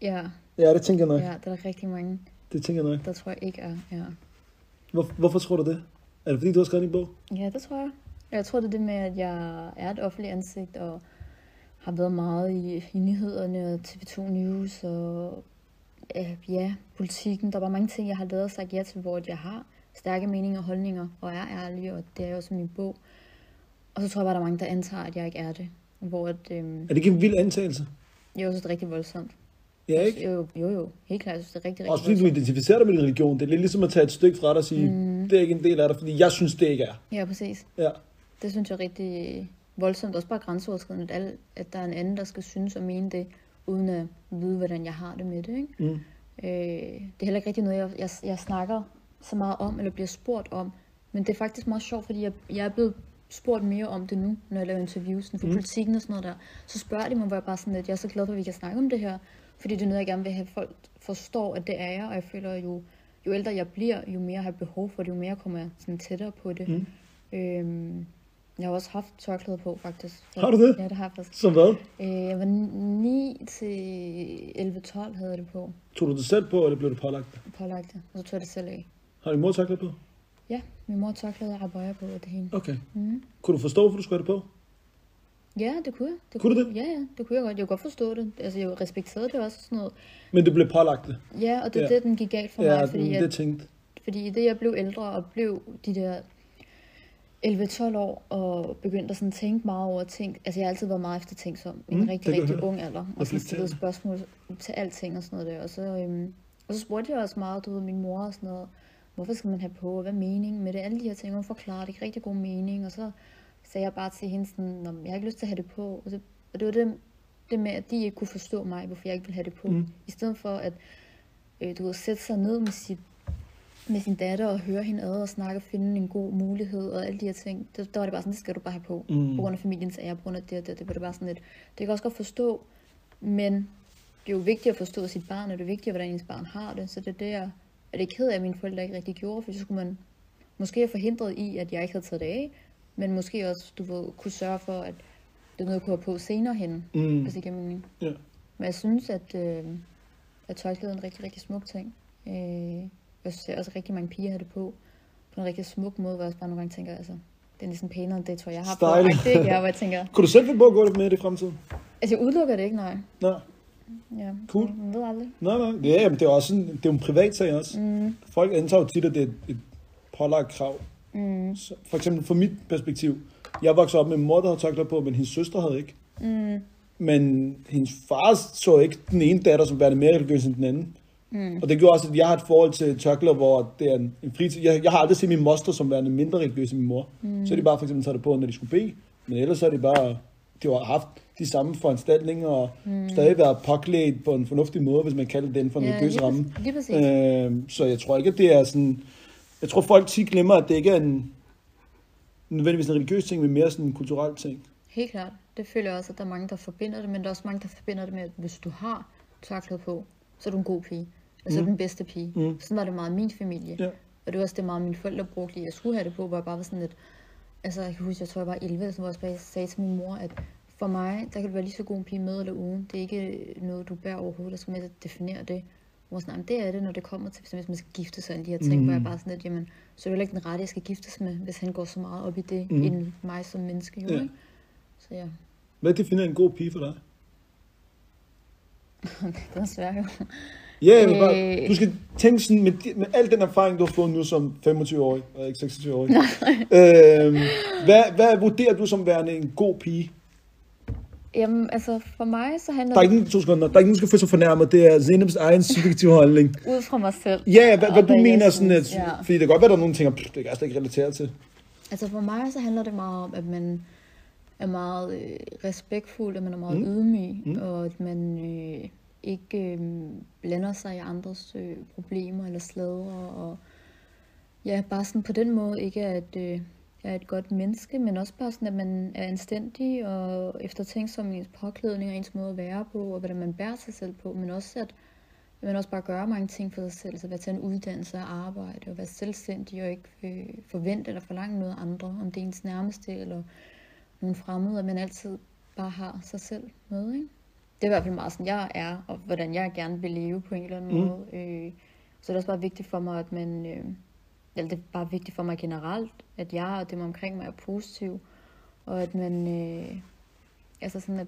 Speaker 2: Ja,
Speaker 1: Ja, det tænker jeg nok.
Speaker 2: ja, der er der rigtig mange,
Speaker 1: Det tænker jeg nok.
Speaker 2: der tror jeg ikke er. Ja,
Speaker 1: Hvor, hvorfor tror du det? Er det fordi, du har skrevet en bog?
Speaker 2: ja det tror jeg. Jeg tror, det er det med, at jeg er et offentligt ansigt og har været meget i, i nyhederne og TV2 News og øh, ja, politikken. Der var mange ting, jeg har lavet og sagt ja til, hvor at jeg har stærke meninger og holdninger og er ærlig, og det er jo også min bog. Og så tror jeg bare, der er mange, der antager, at jeg ikke er det. Hvor at, øhm,
Speaker 1: Er det ikke en vild antagelse?
Speaker 2: jeg synes, det er rigtig voldsomt.
Speaker 1: Ja, ikke?
Speaker 2: Jo, jo, jo. Helt klart, jeg synes, det er rigtig, rigtig
Speaker 1: Også fordi du
Speaker 2: voldsomt.
Speaker 1: identificerer dig med din religion. Det er lidt ligesom at tage et stykke fra dig og sige, mm. det er ikke en del af dig, fordi jeg synes, det ikke er.
Speaker 2: Ja, præcis.
Speaker 1: Ja.
Speaker 2: Det synes jeg er rigtig voldsomt. Også bare grænseoverskridende, at, alle, at der er en anden, der skal synes og mene det, uden at vide, hvordan jeg har det med det. Ikke?
Speaker 1: Mm.
Speaker 2: Øh, det er heller ikke rigtig noget, jeg, jeg, jeg snakker så meget om, eller bliver spurgt om. Men det er faktisk meget sjovt, fordi jeg, jeg er blevet spurgt mere om det nu, når jeg laver interviews sådan for mm. politikken og sådan noget der. Så spørger de mig, hvor jeg bare sådan lidt, jeg er så glad for, at vi kan snakke om det her. Fordi det er noget, jeg gerne vil have, at folk forstår, at det er jeg. Og jeg føler, at jo, jo ældre jeg bliver, jo mere har jeg behov for det, jo mere kommer jeg sådan tættere på det. Mm. Øhm, jeg har også haft tørklæde på, faktisk. Så-
Speaker 1: Har du det?
Speaker 2: Ja, det har jeg faktisk.
Speaker 1: Som hvad?
Speaker 2: Øh, jeg var 9 til 11-12 havde jeg det på,
Speaker 1: Tog du det selv på, eller blev du pålagt? det?
Speaker 2: pålagt det, og så tog jeg det selv af.
Speaker 1: Har din mor taklet på?
Speaker 2: Ja, min mor tørklæde og abøjer på, og det hele.
Speaker 1: Okay. Mm. Kunne du forstå, hvorfor du skulle have det på?
Speaker 2: Ja, det kunne jeg. Det
Speaker 1: Kunne du det?
Speaker 2: Ja, ja, det kunne jeg godt. Jeg kunne godt forstå det. Altså, jeg respekterede det også og sådan noget.
Speaker 1: Men du blev pålagt det.
Speaker 2: Ja, og det er
Speaker 1: Ja.
Speaker 2: det, den gik galt for
Speaker 1: ja,
Speaker 2: mig, fordi,
Speaker 1: det
Speaker 2: at,
Speaker 1: tænkte.
Speaker 2: fordi i det, jeg blev ældre og blev de der 11-12 år og begyndte at sådan tænke meget over ting. Altså, jeg har altid været meget eftertænksom. i En
Speaker 1: Mm,
Speaker 2: mm,
Speaker 1: det
Speaker 2: rigtig,
Speaker 1: kan
Speaker 2: rigtig
Speaker 1: jeg høre.
Speaker 2: ung alder. Og så
Speaker 1: Reflekterende.
Speaker 2: stillede spørgsmål til alting og sådan noget der. Og så, øhm, og så spurgte jeg også meget, du ved, min mor og sådan noget. Hvorfor skal man have på? og Hvad er meningen med det? Alle de her ting. Hun forklarer det ikke rigtig god mening. Og så sagde jeg bare til hende sådan, "Nå, men jeg har ikke lyst til at have det på. Og så Og det var det, det med, at de ikke kunne forstå mig, hvorfor jeg ikke ville have det på. Mm. I stedet for at øh, du ved, sætte sig ned med, sit, med sin datter og høre hende ad og snakke og finde en god mulighed og alle de her ting. Der, der var det bare sådan, det skal du bare have på. Mm. På grund af familiens ære, på grund af det og det. Det var det bare sådan lidt, det kan jeg også godt forstå, men det er jo vigtigt at forstå sit barn, og det er vigtigt, hvordan ens barn har det. Så det er det, jeg er det ked af, at mine forældre ikke rigtig gjorde, for så skulle man måske have forhindret i, at jeg ikke havde taget det af, men måske også, du ved, kunne sørge for, at det er noget, jeg kunne have på senere hen, mm. hvis det giver mening.
Speaker 1: Ja.
Speaker 2: Men jeg synes, at, øh, at tørklæde er en rigtig, rigtig smuk ting. Øh, jeg ser også rigtig mange piger have det på, på en rigtig smuk måde, hvor jeg også bare nogle gange tænker, altså, det er næsten pænere end det, tror jeg, jeg har
Speaker 1: Style.
Speaker 2: på. Ej, det er jeg, hvor jeg tænker,
Speaker 1: Kunne du selv finde på at gå lidt med det i fremtiden?
Speaker 2: altså jeg udelukker det ikke, nej.
Speaker 1: Nej.
Speaker 2: Ja,
Speaker 1: Cool.
Speaker 2: Man ved aldrig.
Speaker 1: Nej, nej. Ja, jamen, det er, også sådan, det er jo en privat sag også. Mm. Folk antager jo tit, at det er et, et pålagt krav. Mm. Så, for eksempel fra mit perspektiv. Jeg voksede op med en mor, der havde tørklæder på, men hendes søster havde ikke. Mm. Men hendes far så ikke den ene datter som værende mere religiøs end den anden. Mm. Og det gjorde også, at jeg har et forhold til tørklæder, hvor det er en, en fritid. Jeg, jeg har aldrig set min moster som værende mindre religiøs end min mor. Mm. Så er de bare for eksempel tager det på, når de skulle bede. Men ellers så er det bare, de har haft de samme foranstaltninger og mm. stadig været påklædt på en fornuftig måde, hvis man kalder den for en
Speaker 2: Ja,
Speaker 1: religiøs
Speaker 2: lige præ-
Speaker 1: ramme.
Speaker 2: lige præcis.
Speaker 1: Øh, så jeg tror ikke, at det er sådan... Jeg tror, folk tit glemmer, at det ikke er en nødvendigvis en religiøs ting, men mere sådan en kulturel ting.
Speaker 2: Helt klart. Det føler jeg også, at der er mange, der forbinder det, men der er også mange, der forbinder det med, at hvis du har tørklæde på, så er du en god pige. Og så er du den bedste pige. Mm. Sådan var det meget i min familie.
Speaker 1: Ja.
Speaker 2: Og det var også det meget, mine forældre brugte i, at jeg skulle have det på, hvor jeg bare var sådan lidt... Altså, jeg kan huske, jeg tror, jeg var 11, eller sådan, hvor jeg også bare sagde til min mor, at for mig, der kan du være lige så god en pige med eller uden. Det er ikke noget, du bærer overhovedet, der skal med til at definere det. Hun var sådan, "Jamen, det er det, når det kommer til, hvis man skal gifte sig, og alle de her ting, mm. hvor jeg bare sådan lidt, jamen, så er det heller ikke den rette, jeg skal giftes med, hvis han går så meget op i det, mm. end mig som menneske, jo,
Speaker 1: Ja.
Speaker 2: ja. ikke? Så ja,
Speaker 1: Hvad definerer en god pige for dig?
Speaker 2: den er svær jo.
Speaker 1: Ja, jeg vil bare,
Speaker 2: Øh.
Speaker 1: du skal tænke sådan, med, di- med al den erfaring, du har fået nu som 25-årig, og ikke 26-årig, øhm, hvad, hvad vurderer du som værende en god pige?
Speaker 2: Jamen, altså for mig så handler
Speaker 1: Der er ikke
Speaker 2: det
Speaker 1: nogen, to sekunder, der er ikke nogen, der skal føle sig fornærmet, det er Zeynep's egen subjektive holdning.
Speaker 2: ud fra mig selv.
Speaker 1: Ja, hvad,
Speaker 2: og
Speaker 1: hvad du
Speaker 2: jeg
Speaker 1: mener, sådan
Speaker 2: synes,
Speaker 1: at, fordi det kan godt være, der er nogen, der tænker, "Pff, det kan jeg slet ikke relatere til.
Speaker 2: Altså for mig så handler det meget om, at man er meget øh, respektfuld, at man er meget mm. ydmyg, mm. og at man øh, ikke øh, blander sig i andres øh, problemer eller slæder. Og ja, bare sådan på den måde ikke at øh, jeg er et godt menneske, men også bare sådan, at man er anstændig og eftertænksom i ens påklædning og ens måde at være på, og hvordan man bærer sig selv på, men også at men også bare gøre mange ting for sig selv, altså være til en uddannelse og arbejde, og være selvstændig og ikke øh, forvente eller forlange noget af andre, om det er ens nærmeste eller nogle fremmede, at man altid bare har sig selv med, ikke? Det er i hvert fald meget sådan, jeg er, og hvordan jeg gerne vil leve på en eller anden mm. måde. Øh, så er det også bare vigtigt for mig, at man, øh, eller det er bare vigtigt for mig generelt, at jeg og dem omkring mig er positiv, og at man, øh, altså sådan, at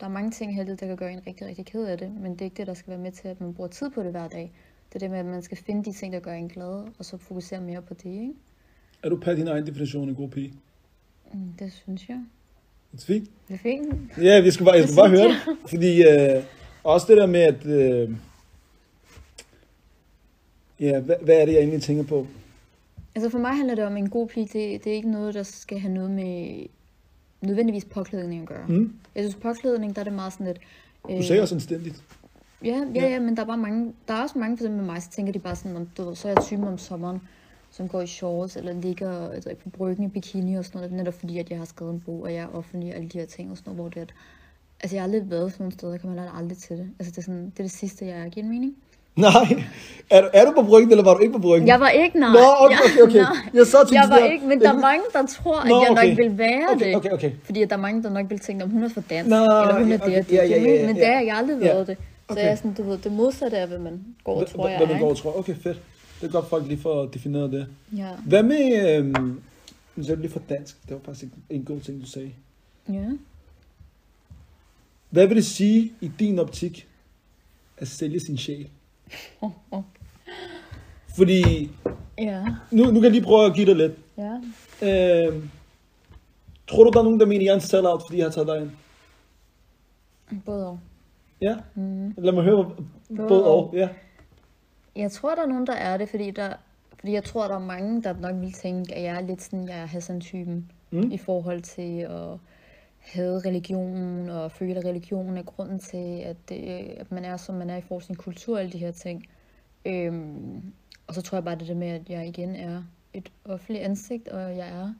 Speaker 2: der er mange ting heldigvis, der kan gøre en rigtig, rigtig ked af det, men det er ikke det, der skal være med til, at man bruger tid på det hver dag. Det er det med, at man skal finde de ting, der gør en glad, og så fokusere mere på det, ikke?
Speaker 1: Er du pat din egen definition af en god pige?
Speaker 2: Mm, Det synes jeg.
Speaker 1: Det er fint.
Speaker 2: Det er fint.
Speaker 1: Ja, vi skulle bare, jeg
Speaker 2: Det
Speaker 1: skulle bare
Speaker 2: synes
Speaker 1: høre det. Fordi øh, også det der med, at... Øh, ja, hvad, hvad er det, jeg egentlig tænker på?
Speaker 2: Altså for mig handler det om en god pige. Det, det er ikke noget, der skal have noget med nødvendigvis påklædning at gøre.
Speaker 1: Mm.
Speaker 2: Jeg synes, påklædning, der er det meget sådan lidt... Øh,
Speaker 1: Du sagde også anstændigt.
Speaker 2: Ja, ja, ja, men der er bare mange, der er også mange, for eksempel med mig, så tænker de bare sådan, om, du ved, så er jeg typen om sommeren, som går i shorts, eller ligger altså, på bryggen i bikini og sådan noget, netop fordi, at jeg har skrevet en bog, og jeg er offentlig, og alle de her ting og sådan noget, hvor det er, at- altså jeg har aldrig været sådan nogle steder, jeg kommer heller aldrig til det. Altså det er, sådan, det er det sidste, jeg er. Giver det mening?
Speaker 1: Nej. Er du, er du på bryggen, eller var du ikke på bryggen?
Speaker 2: Jeg var ikke, nej.
Speaker 1: Nå, okay, okay, okay. Jeg så tænkte
Speaker 2: jeg var
Speaker 1: sådan,
Speaker 2: ikke, men der er
Speaker 1: øh,
Speaker 2: mange, der tror, at
Speaker 1: Nå,
Speaker 2: jeg nok
Speaker 1: okay.
Speaker 2: vil være
Speaker 1: Okay,
Speaker 2: det.
Speaker 1: okay, okay.
Speaker 2: Fordi at der er mange, der nok vil tænke, om hun er for dansk,
Speaker 1: Nå,
Speaker 2: eller hun er
Speaker 1: okay,
Speaker 2: det og det.
Speaker 1: ja, ja,
Speaker 2: Giver det
Speaker 1: ja,
Speaker 2: mening? men
Speaker 1: ja,
Speaker 2: det
Speaker 1: ja.
Speaker 2: har jeg aldrig
Speaker 1: Ja,
Speaker 2: været det. Så
Speaker 1: okay.
Speaker 2: jeg er sådan, du ved, det modsatte af, hvad man går og tror, jeg
Speaker 1: Hvad man
Speaker 2: er,
Speaker 1: går
Speaker 2: ikke?
Speaker 1: og tror. Okay, fedt. Det er godt, folk lige får defineret det.
Speaker 2: Ja.
Speaker 1: Hvad med... Øh, nu sagde du lige for dansk. Det var faktisk ikke en god ting, du sagde.
Speaker 2: ja.
Speaker 1: Hvad vil det sige i din optik at sælge sin sjæl? Fordi
Speaker 2: Ja.
Speaker 1: nu, nu kan jeg lige prøve at give dig lidt.
Speaker 2: Ja.
Speaker 1: Øh, tror du, der er nogen, der mener, jeg er en sellout, fordi jeg har taget dig ind?
Speaker 2: Både og.
Speaker 1: Ja? Mm. Lad mig høre, både, både og. Ja.
Speaker 2: Jeg tror, der er nogen, der er det, fordi der... Fordi jeg tror, der er mange, der nok vil tænke, at jeg er lidt sådan, jeg er Hassan-typen. Mm. I forhold til at hade religionen og føle, at religionen er grunden til, at, det, at man er, som man er i forhold til sin kultur og alle de her ting. Øhm, og så tror jeg bare det der med, at jeg igen er et offentligt ansigt, og jeg er,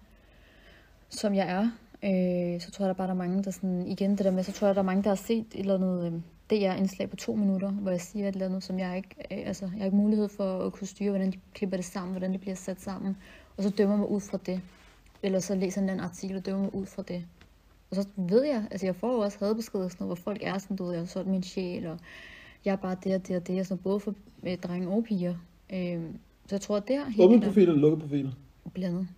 Speaker 2: som jeg er. Øh, så tror jeg, der bare der er mange, der sådan, igen det der med, så tror jeg, der er mange, der har set et eller andet øh, DR-indslag på to minutter, hvor jeg siger et eller andet, som jeg ikke, øh, altså, jeg har ikke mulighed for at kunne styre, hvordan de klipper det sammen, hvordan det bliver sat sammen. Og så dømmer mig ud fra det. Eller så læser jeg en eller anden artikel og dømmer mig ud fra det. Og så ved jeg, altså jeg får jo også hadbeskeder, sådan noget, hvor folk er sådan, du ved, jeg har solgt min sjæl, og jeg er bare det og det og det, og sådan, både for øh, drenge og piger. Øh, så jeg tror, at det er helt
Speaker 1: Åbne
Speaker 2: klart
Speaker 1: profiler eller lukkede profiler?
Speaker 2: blandet.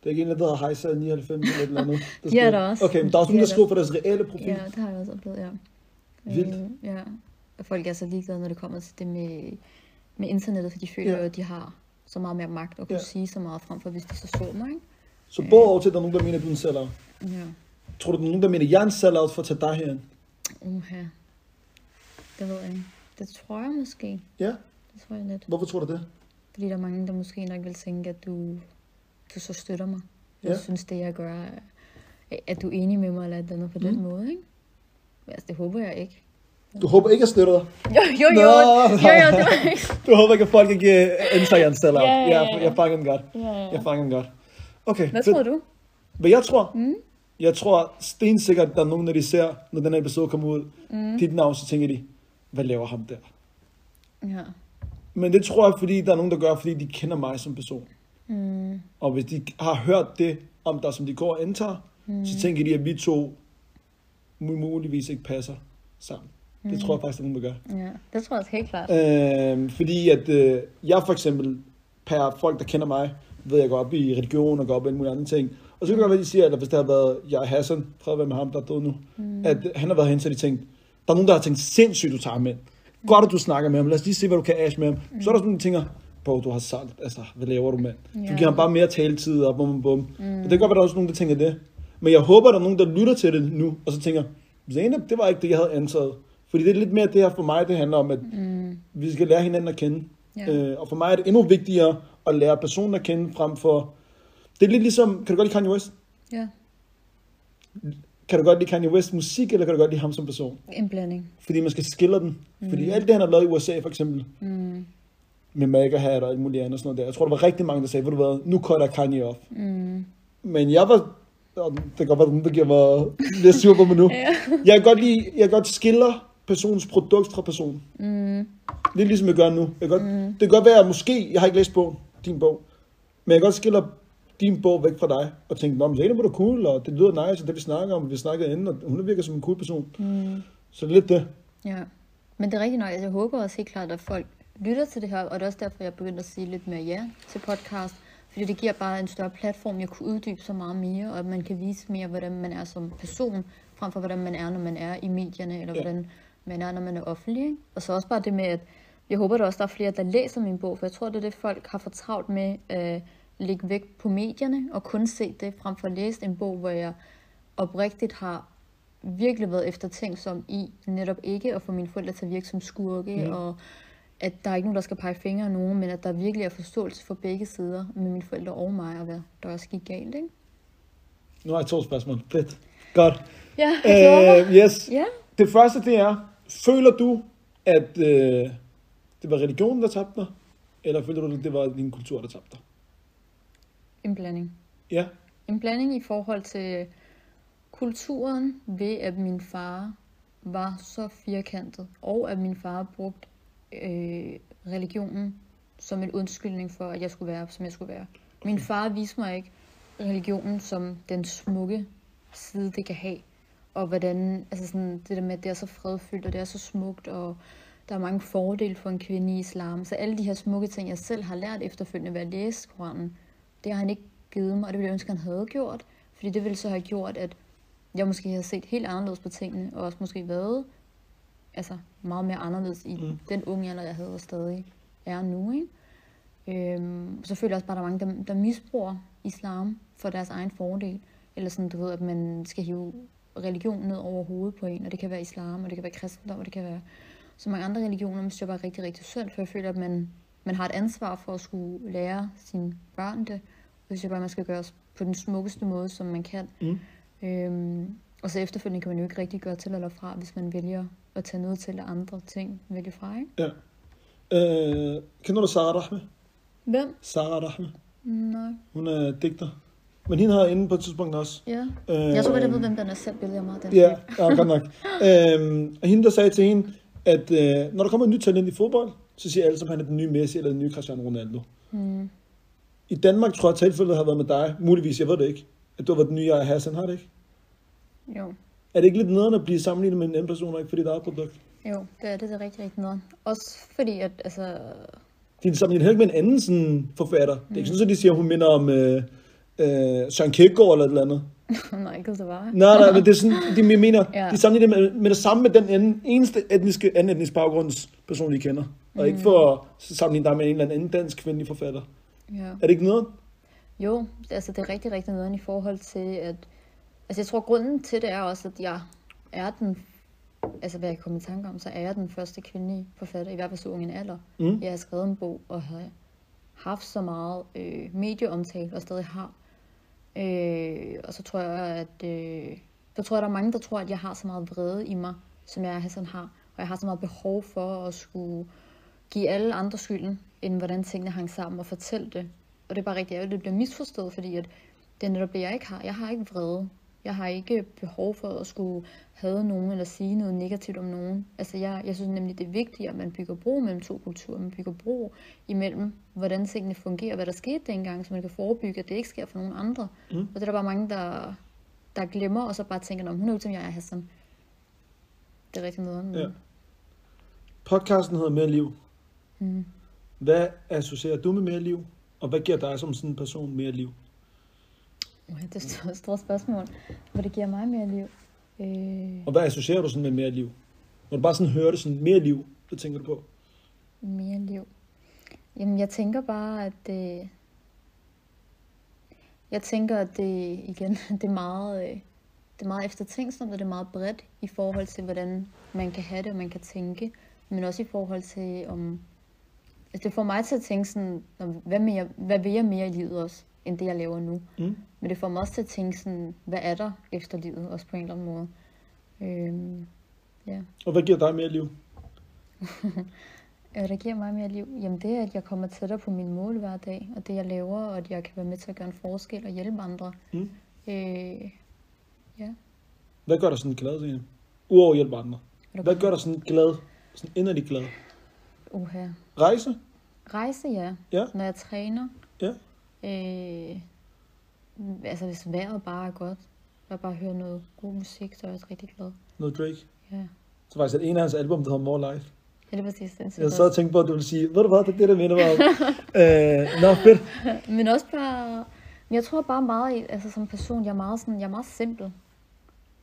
Speaker 1: Det er ikke en, der hedder Heisa 99 eller et eller andet.
Speaker 2: De er
Speaker 1: skriver-
Speaker 2: der også.
Speaker 1: Okay, men der er også
Speaker 2: De
Speaker 1: nogen, der
Speaker 2: er der.
Speaker 1: skriver på deres reelle profil.
Speaker 2: Ja, det har jeg også oplevet, ja.
Speaker 1: Vildt.
Speaker 2: Øh, ja. Og folk er så ligeglade, når det kommer til det med, med internettet, for de føler
Speaker 1: Ja.
Speaker 2: jo, at de har så meget mere magt og kunne
Speaker 1: Ja.
Speaker 2: sige så meget frem for, hvis de så så mig, ikke?
Speaker 1: Så både over til, at der er nogen, der mener, at du er en sellout.
Speaker 2: Ja.
Speaker 1: Tror du, der er nogen, der mener, at jeg er en sellout for at tage dig herind?
Speaker 2: Uha. Det ved jeg ikke. Det tror jeg måske.
Speaker 1: Ja?
Speaker 2: Det tror jeg lidt.
Speaker 1: Hvorfor tror du det?
Speaker 2: Fordi der er mange, der måske nok vil tænke, at du, du så støtter mig.
Speaker 1: Ja.
Speaker 2: Ja. Jeg synes, det jeg gør, er- at du er enig med mig eller et eller andet på
Speaker 1: Mm.
Speaker 2: den måde, ikke? Men altså, det håber jeg ikke.
Speaker 1: Du håber ikke, at jeg støtter dig?
Speaker 2: Jo,
Speaker 1: Nå!
Speaker 2: jo, jo. Jo, jo, det var ikke.
Speaker 1: Du håber ikke, at folk ikke øh, antager, at jeg er en sellout?
Speaker 2: Ja, ja, ja.
Speaker 1: Jeg, jeg fanger den godt.
Speaker 2: Ja, ja.
Speaker 1: Jeg fanger den godt. Okay,
Speaker 2: Hvad
Speaker 1: fedt.
Speaker 2: tror du?
Speaker 1: Hvad jeg tror? Mm. Jeg tror stensikkert, der er nogen, når de ser, når den her episode kommer ud, mm. dit navn, så tænker de, hvad laver ham der?
Speaker 2: Ja.
Speaker 1: Men det tror jeg, fordi der er nogen, der gør, fordi de kender mig som person. Mm. Og hvis de har hørt det om dig, som de går og antager, mm. så tænker de, at vi to mul- muligvis ikke passer sammen. Det tror jeg faktisk, der er nogen, der gør.
Speaker 2: Ja, det tror jeg også helt klart.
Speaker 1: Øh, fordi at øh, jeg for eksempel, per folk, der kender mig, ved jeg går op i religion og går op i alle mulige andre ting. Og så kan det godt være, de siger, at hvis der har været, jeg er Hassan, prøv at være med ham, der er død nu, mm. at han har været hen, så har de tænkt, der er nogen, der har tænkt, sindssygt, du tager ham ind. Godt, at du snakker med ham. Lad os lige se, hvad du kan ash med ham. Mm. Så er der sådan nogle tænker, bro, du har sagt, altså, hvad laver du, mand? Du
Speaker 2: Ja.
Speaker 1: giver ham bare mere taletid og bum, bum, bum. Mm. Og det kan godt være, der er også nogen, der tænker det. Men jeg håber, der er nogen, der lytter til det nu, og så tænker, Zainab, det var ikke det, jeg havde antaget. Fordi det er lidt mere det her for mig, det handler om, at mm. vi skal lære hinanden at kende.
Speaker 2: Ja.
Speaker 1: Øh, og for mig er det endnu vigtigere at lære personen at kende, frem for... Det er lidt ligesom, kan du godt lide Kanye West?
Speaker 2: Ja,
Speaker 1: Kan du godt lide Kanye West musik, eller kan du godt lide ham som person?
Speaker 2: en blanding.
Speaker 1: Fordi man skal skille den. Fordi alt det, han har lavet i USA, for eksempel,
Speaker 2: Mm.
Speaker 1: med Mega Hat og alt muligt andet og sådan noget der. Jeg tror, der var rigtig mange, der sagde, ved du hvad, nu cutter jeg Kanye off.
Speaker 2: Mm.
Speaker 1: Men jeg var... og Det kan godt være, nogen, der giver mig lidt sur på mig nu.
Speaker 2: Ja.
Speaker 1: Jeg kan godt lide, jeg kan godt skiller personens produkt fra personen.
Speaker 2: Mm.
Speaker 1: Lidt ligesom jeg gør nu. Jeg kan godt, mm. Det kan godt være, at måske, jeg har ikke læst bogen, din bog, men jeg kan godt skille din bog væk fra dig, og tænke, nå, men Zane var da cool, og det lyder nice, og det vi snakker om, vi snakkede inden, og hun virker som en cool person.
Speaker 2: Mm.
Speaker 1: Så det er lidt det.
Speaker 2: Ja. Men det er rigtigt nok. Altså, jeg håber også helt klart, at folk lytter til det her, og det er også derfor, jeg begyndte at sige lidt mere ja til podcast. Fordi det giver bare en større platform, jeg kunne uddybe så meget mere, og at man kan vise mere, hvordan man er som person, frem for hvordan man er, når man er i medierne, eller
Speaker 1: Ja.
Speaker 2: hvordan man er, når man er offentlig. Ikke? Og så også bare det med, at jeg håber, der også der er flere, der læser min bog, for jeg tror, det er det, folk har for travlt med at lægge væk på medierne, og kun se det, frem for at læse en bog, hvor jeg oprigtigt har virkelig været eftertænksom i netop ikke at få mine forældre til at virke som skurke, mm. og at der er ikke nogen, der skal pege fingre af nogen, men at der virkelig er forståelse for begge sider med mine forældre og mig, og hvad der også gik galt, ikke?
Speaker 1: Nu har jeg to spørgsmål. Fedt. Godt.
Speaker 2: Ja,
Speaker 1: Øh, yes.
Speaker 2: Ja,
Speaker 1: Det første, det er, føler du, at øh, det var religionen, der tabte dig? Eller føler du, at det var din kultur, der tabte dig?
Speaker 2: en blanding.
Speaker 1: Ja.
Speaker 2: En blanding i forhold til kulturen ved, at min far var så firkantet, og at min far brugte øh, religionen som en undskyldning for, at jeg skulle være, som jeg skulle være. Min far viste mig ikke religionen som den smukke side, det kan have. Og hvordan, altså sådan, det der med, at det er så fredfyldt, og det er så smukt, og der er mange fordele for en kvinde i islam. Så alle de her smukke ting, jeg selv har lært efterfølgende ved at læse Koranen, det har han ikke givet mig, og det ville jeg ønske, han havde gjort. Fordi det ville så have gjort, at jeg måske havde set helt anderledes på tingene, og også måske været altså, meget mere anderledes i
Speaker 1: Mm.
Speaker 2: mm. den unge alder, jeg havde og stadig er nu. Ikke? Øhm, så føler jeg også bare, at der er mange, der, der misbruger islam for deres egen fordel. Eller sådan, du ved, at man skal hive religion ned over hovedet på en, og det kan være islam, og det kan være kristendom, og det kan være så mange andre religioner, men det synes jeg bare er rigtig, rigtig synd, for jeg føler, at man, man har et ansvar for at skulle lære sine børn det. Det synes jeg bare, man skal gøre på den smukkeste måde, som man kan.
Speaker 1: Mm.
Speaker 2: Øhm, og så efterfølgende kan man jo ikke rigtig gøre til eller fra, hvis man vælger at tage noget til, og andre ting vælge fra, ikke?
Speaker 1: Ja. Øh, kender du Sara Rahme?
Speaker 2: Hvem?
Speaker 1: Sara Rahme.
Speaker 2: Nej.
Speaker 1: Hun er digter. Men hende havde jeg inde på et tidspunkt også.
Speaker 2: Ja.
Speaker 1: Øh,
Speaker 2: Jeg tror, at jeg ved, hvem den er selv, vælger mig. Den
Speaker 1: Ja,
Speaker 2: type.
Speaker 1: ja godt nok. øhm, og hende, der sagde til hende, at øh, når der kommer et nyt talent i fodbold, så siger alle, som han er den nye Messi eller den nye Cristiano Ronaldo. Mm. I Danmark tror jeg, at tilfældet har været med dig. Muligvis, jeg ved det ikke. At du har været den nye Jaja Hassan, har det ikke?
Speaker 2: Jo.
Speaker 1: Er det ikke lidt nederen at blive sammenlignet med en anden person, og ikke for dit eget produkt?
Speaker 2: Jo, det er det, det er rigtig, rigtig noget. Også fordi, at altså,
Speaker 1: De er sammenlignet heller ikke med en anden sådan, forfatter. Mm. Det er ikke sådan, at de siger, at hun minder om øh, øh, Søren Kierkegaard eller et eller andet.
Speaker 2: nej, ikke det var.
Speaker 1: Nej, nej, men det er sådan, de jeg mener, ja.
Speaker 2: Ja.
Speaker 1: de sammenligner det med, med det samme med den anden, eneste etniske, anden etnisk baggrundsperson, de kender. Og ikke for at sammenligne dig med en eller anden dansk kvindelig forfatter.
Speaker 2: Ja.
Speaker 1: Er det ikke noget?
Speaker 2: Jo, altså det er rigtig, rigtig nederen i forhold til, at... Altså jeg tror, grunden til det er også, at jeg er den... Altså hvad jeg kom i tanke om, så er jeg den første kvindelige forfatter, i hvert fald så ung en alder.
Speaker 1: Mm.
Speaker 2: Jeg har skrevet en bog og har haft så meget øh, medieomtale, og stadig har. Øh, og så tror jeg, at... Øh, så tror jeg, der er mange, der tror, at jeg har så meget vrede i mig, som jeg Hassan har. Og jeg har så meget behov for at skulle give alle andre skylden, end hvordan tingene hang sammen, og fortælle det. Og det er bare rigtig ærgerligt, at det bliver misforstået, fordi at det er netop det, jeg ikke har. Jeg har ikke vrede. Jeg har ikke behov for at skulle have nogen eller sige noget negativt om nogen. Altså jeg, jeg synes nemlig, det er vigtigt, at man bygger bro mellem to kulturer. Man bygger bro imellem, hvordan tingene fungerer, hvad der skete dengang, så man kan forebygge, at det ikke sker for nogen andre. Mm. Og det er der bare mange, der, der glemmer, og så bare tænker, at hun er jo som jeg er, Hassan. Det er rigtig nederen.
Speaker 1: Ja.
Speaker 2: Ja.
Speaker 1: Podcasten hedder Mere Liv. Mm. Hvad associerer du med mere liv? Og hvad giver dig som sådan en person mere liv?
Speaker 2: Uha, Det er et stort spørgsmål, hvor det giver mig mere liv. Øh,
Speaker 1: Og hvad associerer du sådan med mere liv? Når du bare sådan hører det sådan, mere liv, hvad tænker du på?
Speaker 2: mere liv. Jamen, jeg tænker bare, at det... Jeg tænker, at det, igen, det er meget, øh, det er meget eftertænksomt, og det er meget bredt i forhold til, hvordan man kan have det, og man kan tænke. Men også i forhold til, om... Altså, det får mig til at tænke sådan, "Nå, hvad, mere, hvad vil jeg mere i livet også, end det, jeg laver nu?
Speaker 1: Mm.
Speaker 2: Men det får mig også til at tænke sådan, hvad er der efter livet, også på en eller anden måde. Øhm, ja.
Speaker 1: Og hvad giver dig mere liv?
Speaker 2: Øh, der giver mig mere liv? Jamen det er, at jeg kommer tættere på mine mål hver dag, og det jeg laver, og at jeg kan være med til at gøre en forskel og hjælpe andre.
Speaker 1: Mm.
Speaker 2: Øh, ja.
Speaker 1: Hvad gør dig sådan glad, Signe? Udover at hjælpe andre.
Speaker 2: Er
Speaker 1: Hvad gør dig sådan glad? Sådan inderlig glad?
Speaker 2: Uha.
Speaker 1: Rejse?
Speaker 2: Rejse, ja.
Speaker 1: Ja,
Speaker 2: Når jeg træner.
Speaker 1: ja.
Speaker 2: Øh, mm, altså hvis vejret bare er godt, og jeg bare hører noget god musik, så er jeg også rigtig glad.
Speaker 1: Noget Drake.
Speaker 2: Ja.
Speaker 1: Så faktisk er det en af hans album, der hedder More Life.
Speaker 2: Ja, det er præcis det.
Speaker 1: Jeg sad og tænkte på, at du ville sige, ved du hvad, det er det, der minder mig om. øh, nå, fedt.
Speaker 2: Men også bare... men Jeg tror bare meget, i- altså som person, jeg er meget, sådan, jeg er meget simpel.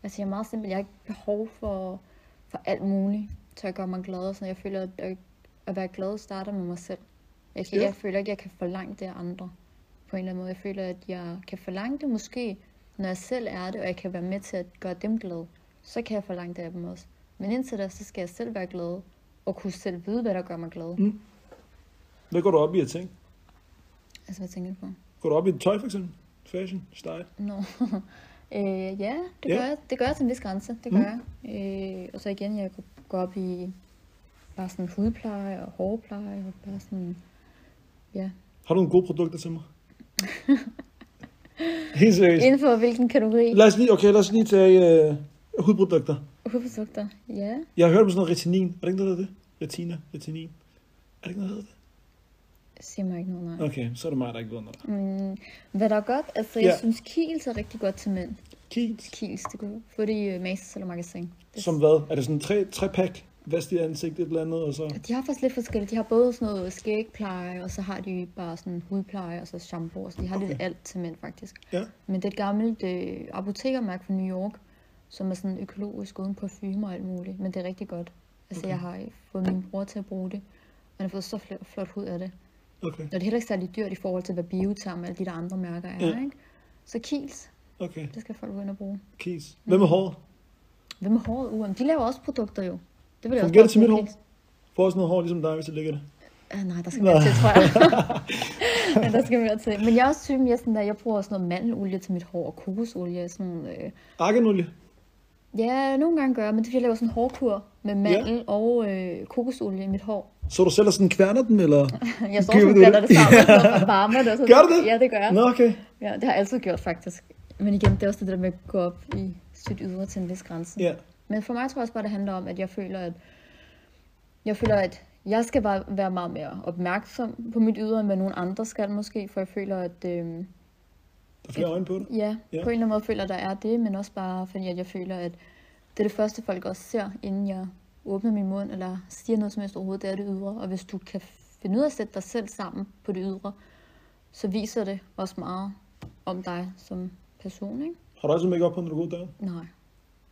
Speaker 2: Altså jeg er meget simpel. Jeg har ikke behov for, for alt muligt, så jeg gør mig glad. og Sådan. Jeg føler, at, at- at være glad starter med mig selv. Jeg, kan,
Speaker 1: Ja.
Speaker 2: jeg føler ikke, at jeg kan forlange det af andre på en eller anden måde. Jeg føler, at jeg kan forlange det måske, når jeg selv er det, og jeg kan være med til at gøre dem glade. Så kan jeg forlange det af dem også. Men indtil da, så skal jeg selv være glad, og kunne selv vide, hvad der gør mig glad.
Speaker 1: Mm. Hvad går du op i at tænke?
Speaker 2: Altså, hvad tænker du på?
Speaker 1: Går du op i tøj, for eksempel? Fashion? Style?
Speaker 2: Nå. øh, ja, det
Speaker 1: Ja.
Speaker 2: gør, jeg, det gør jeg til en vis grænse. Det gør mm. jeg. Øh, og så igen, jeg går op i bare sådan hudpleje og hårpleje og bare sådan... Ja.
Speaker 1: Har du nogle gode produkter til mig? Helt seriøst.
Speaker 2: Inden for hvilken kategori?
Speaker 1: Lad os lige, okay, lad os lige tage øh, hudprodukter.
Speaker 2: Hudprodukter? Ja.
Speaker 1: Jeg har hørt om sådan noget retinin. Er det ikke noget, der hedder det? Retina, retinin. Er det ikke noget, der hedder det?
Speaker 2: Siger mig ikke noget, nej.
Speaker 1: Okay, så er det mig, der ikke ved noget.
Speaker 2: Men hvad der er godt, altså jeg
Speaker 1: Ja.
Speaker 2: ja. synes kiels er rigtig godt til mænd.
Speaker 1: Kiels.
Speaker 2: Kiels, det kunne få det i øh, Matas eller Magasin. Det-
Speaker 1: Som hvad? Er det sådan tre, tre pack? Vask dit ansigt, et eller andet, og så...
Speaker 2: De har faktisk lidt forskelligt. De har både sådan noget skægpleje, og så har de bare sådan hudpleje, og så shampoo. Så de har okay. lidt alt til mænd, faktisk.
Speaker 1: Ja.
Speaker 2: Men det er et gammelt øh, apotekermærke fra New York, som er sådan økologisk uden parfume og alt muligt. Men det er rigtig godt. Altså, okay. jeg har fået min bror til at bruge det. og Han har fået så flot, flot hud af det.
Speaker 1: Okay,
Speaker 2: Og det er heller ikke særlig dyrt i forhold til, hvad bioterm og alle de der andre mærker er,
Speaker 1: Ja.
Speaker 2: ikke? Så Kiels,
Speaker 1: okay.
Speaker 2: det skal folk gå ind og bruge.
Speaker 1: Kies. Hvad med hår?
Speaker 2: Hvem med håret? Uh, de laver også produkter jo. Det vil jeg
Speaker 1: Fungerer det til
Speaker 2: også bare
Speaker 1: mit
Speaker 2: bruge,
Speaker 1: hår?
Speaker 2: Kiels.
Speaker 1: Får også noget hår, ligesom dig, hvis jeg ligger det.
Speaker 2: Øh, nej, der skal mere til, tror jeg. Men der skal mere til. Men jeg er også typen, jeg, er sådan der, jeg bruger også noget mandelolie til mit hår og kokosolie. Sådan, øh,
Speaker 1: Akkenolie.
Speaker 2: ja, nogle gange gør jeg, men det er fordi, jeg laver sådan en hårkur med mandel og øh, kokosolie i mit hår.
Speaker 1: Så du selv er sådan kværner den, eller?
Speaker 2: Jeg står
Speaker 1: Gør
Speaker 2: også og
Speaker 1: du
Speaker 2: blander det
Speaker 1: det?
Speaker 2: sammen, og så varmer det. Og så,
Speaker 1: Gør du det?
Speaker 2: Ja, det gør jeg.
Speaker 1: Nå, okay.
Speaker 2: Ja, det har jeg altid gjort, faktisk. Men igen, det er også det der med at gå op i sit ydre til en vis grænse.
Speaker 1: Ja.
Speaker 2: Men for mig tror jeg også bare, det handler om, at jeg føler, at jeg føler, at jeg skal bare være meget mere opmærksom på mit ydre, end hvad nogen andre skal måske, for jeg føler, at øh,
Speaker 1: Der er flere øjne på dig.
Speaker 2: ja,
Speaker 1: Ja.
Speaker 2: ja, på en eller anden måde føler, at der er det, men også bare fordi, at jeg føler, at det er det første, folk også ser, inden jeg åbner min mund, eller siger noget som helst overhovedet, det er det ydre. Og hvis du kan finde ud af at sætte dig selv sammen på det ydre, så viser det også meget om dig som person, ikke?
Speaker 1: Har du altid make op på, når du går ud der?
Speaker 2: Nej, det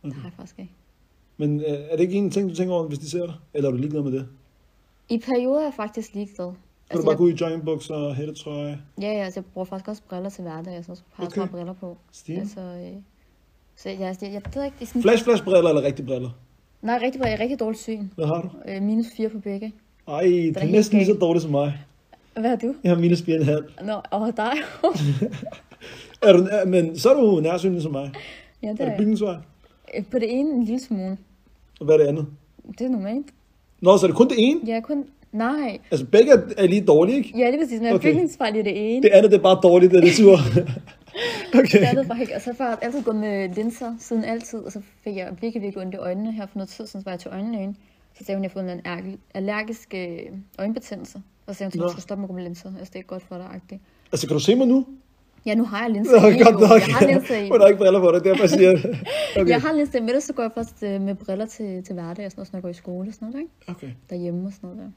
Speaker 1: Mhm.
Speaker 2: har jeg faktisk ikke.
Speaker 1: Men øh, er det ikke en ting, du tænker over, hvis de ser dig? Eller er du ligeglad med det?
Speaker 2: I perioder er jeg faktisk ligeglad.
Speaker 1: Kan altså, du bare
Speaker 2: jeg,
Speaker 1: gå ud i joggingbukser, hættetrøje?
Speaker 2: ja, ja, altså, jeg bruger faktisk også briller til hverdag. Jeg synes, jeg har
Speaker 1: Okay.
Speaker 2: okay. briller på.
Speaker 1: Stil.
Speaker 2: Altså, øh, så jeg, altså, jeg, jeg, ved ikke, det er sådan...
Speaker 1: Flash, flash briller eller rigtige briller?
Speaker 2: Nej, rigtig, jeg er rigtig dårligt syn.
Speaker 1: Hvad har du?
Speaker 2: Øh, minus 4 på begge.
Speaker 1: Ej, det er
Speaker 2: helt
Speaker 1: næsten lige så
Speaker 2: galt.
Speaker 1: dårligt som mig.
Speaker 2: Hvad er du?
Speaker 1: Jeg har minus 4,5.
Speaker 2: Nå, og dig.
Speaker 1: Er du, er, men så er du nærsynet som mig.
Speaker 2: ja, det
Speaker 1: Er
Speaker 2: er
Speaker 1: det
Speaker 2: jeg.
Speaker 1: bygningsvej?
Speaker 2: Øh, På det ene en lille smule.
Speaker 1: Og hvad er det andet?
Speaker 2: Det er normalt.
Speaker 1: Nå, så er det kun det ene?
Speaker 2: Jeg er kun... Nej.
Speaker 1: Altså, begge er, er lige dårlige, ikke?
Speaker 2: Ja, lige præcis. Men jeg er
Speaker 1: Okay.
Speaker 2: bygningsfejl i det ene.
Speaker 1: Det andet, det er bare dårligt, det er det sur. okay.
Speaker 2: Det er det bare ikke. Og så har jeg altid gået med linser siden altid, og så fik jeg virkelig, virkelig ondt i øjnene her for noget tid siden, så var jeg til øjenlægen. Så sagde hun, at jeg har fået en allergi- allergisk øh, øjenbetændelse. Og så sagde hun til mig,
Speaker 1: Nå.
Speaker 2: at jeg skulle stoppe med at gå med linser. Altså, det er ikke godt for dig, agtigt.
Speaker 1: Altså, kan du se mig nu?
Speaker 2: Ja, nu har jeg linser
Speaker 1: Nå,
Speaker 2: i.
Speaker 1: godt
Speaker 2: jo.
Speaker 1: nok.
Speaker 2: Jeg har linser i.
Speaker 1: Hun har ikke briller på dig, derfor jeg siger jeg det.
Speaker 2: Okay.
Speaker 1: Okay.
Speaker 2: Jeg har linser i, men ellers så går jeg først øh, med briller til, til hverdag og sådan noget, når jeg går i skole og sådan noget, ikke?
Speaker 1: okay.
Speaker 2: Derhjemme og sådan noget der.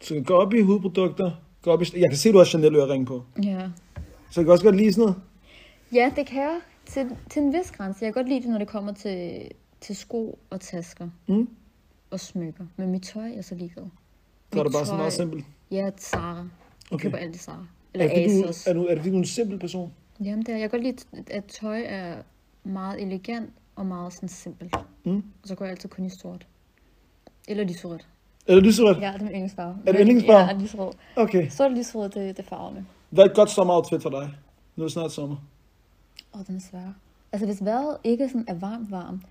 Speaker 1: Så gå op i hudprodukter. Gå op i... Jeg kan se, du har Chanel ørering på.
Speaker 2: Ja.
Speaker 1: Så jeg kan også godt lide sådan noget.
Speaker 2: Ja, det kan jeg til, til en vis grænse. Jeg kan godt lide det, når det kommer til, til sko og tasker
Speaker 1: Mm.
Speaker 2: og smykker. Men mit tøj er jeg så ligeglad.
Speaker 1: Så er det bare sådan meget simpelt.
Speaker 2: Ja, Zara. Jeg
Speaker 1: Okay.
Speaker 2: køber alt i Zara.
Speaker 1: Er
Speaker 2: Eller
Speaker 1: det, fordi du,
Speaker 2: Asos.
Speaker 1: er, du, er det fordi, du er en simpel person?
Speaker 2: Jamen, det er, jeg kan godt lide, at tøj er meget elegant og meget sådan simpelt.
Speaker 1: Mm.
Speaker 2: Og så går jeg altid kun i sort. Eller lyserødt.
Speaker 1: Er det lyserødt?
Speaker 2: Ja, det er min yndlingsfarve.
Speaker 1: Er det yndlingsfarve?
Speaker 2: Ja, lyserød.
Speaker 1: Okay.
Speaker 2: Sort og lyserød, det, det er farverne.
Speaker 1: Hvad er et godt sommeroutfit for dig? Nu er det snart sommer.
Speaker 2: Åh, den er svær. Altså, hvis vejret ikke sådan er varmt, varmt,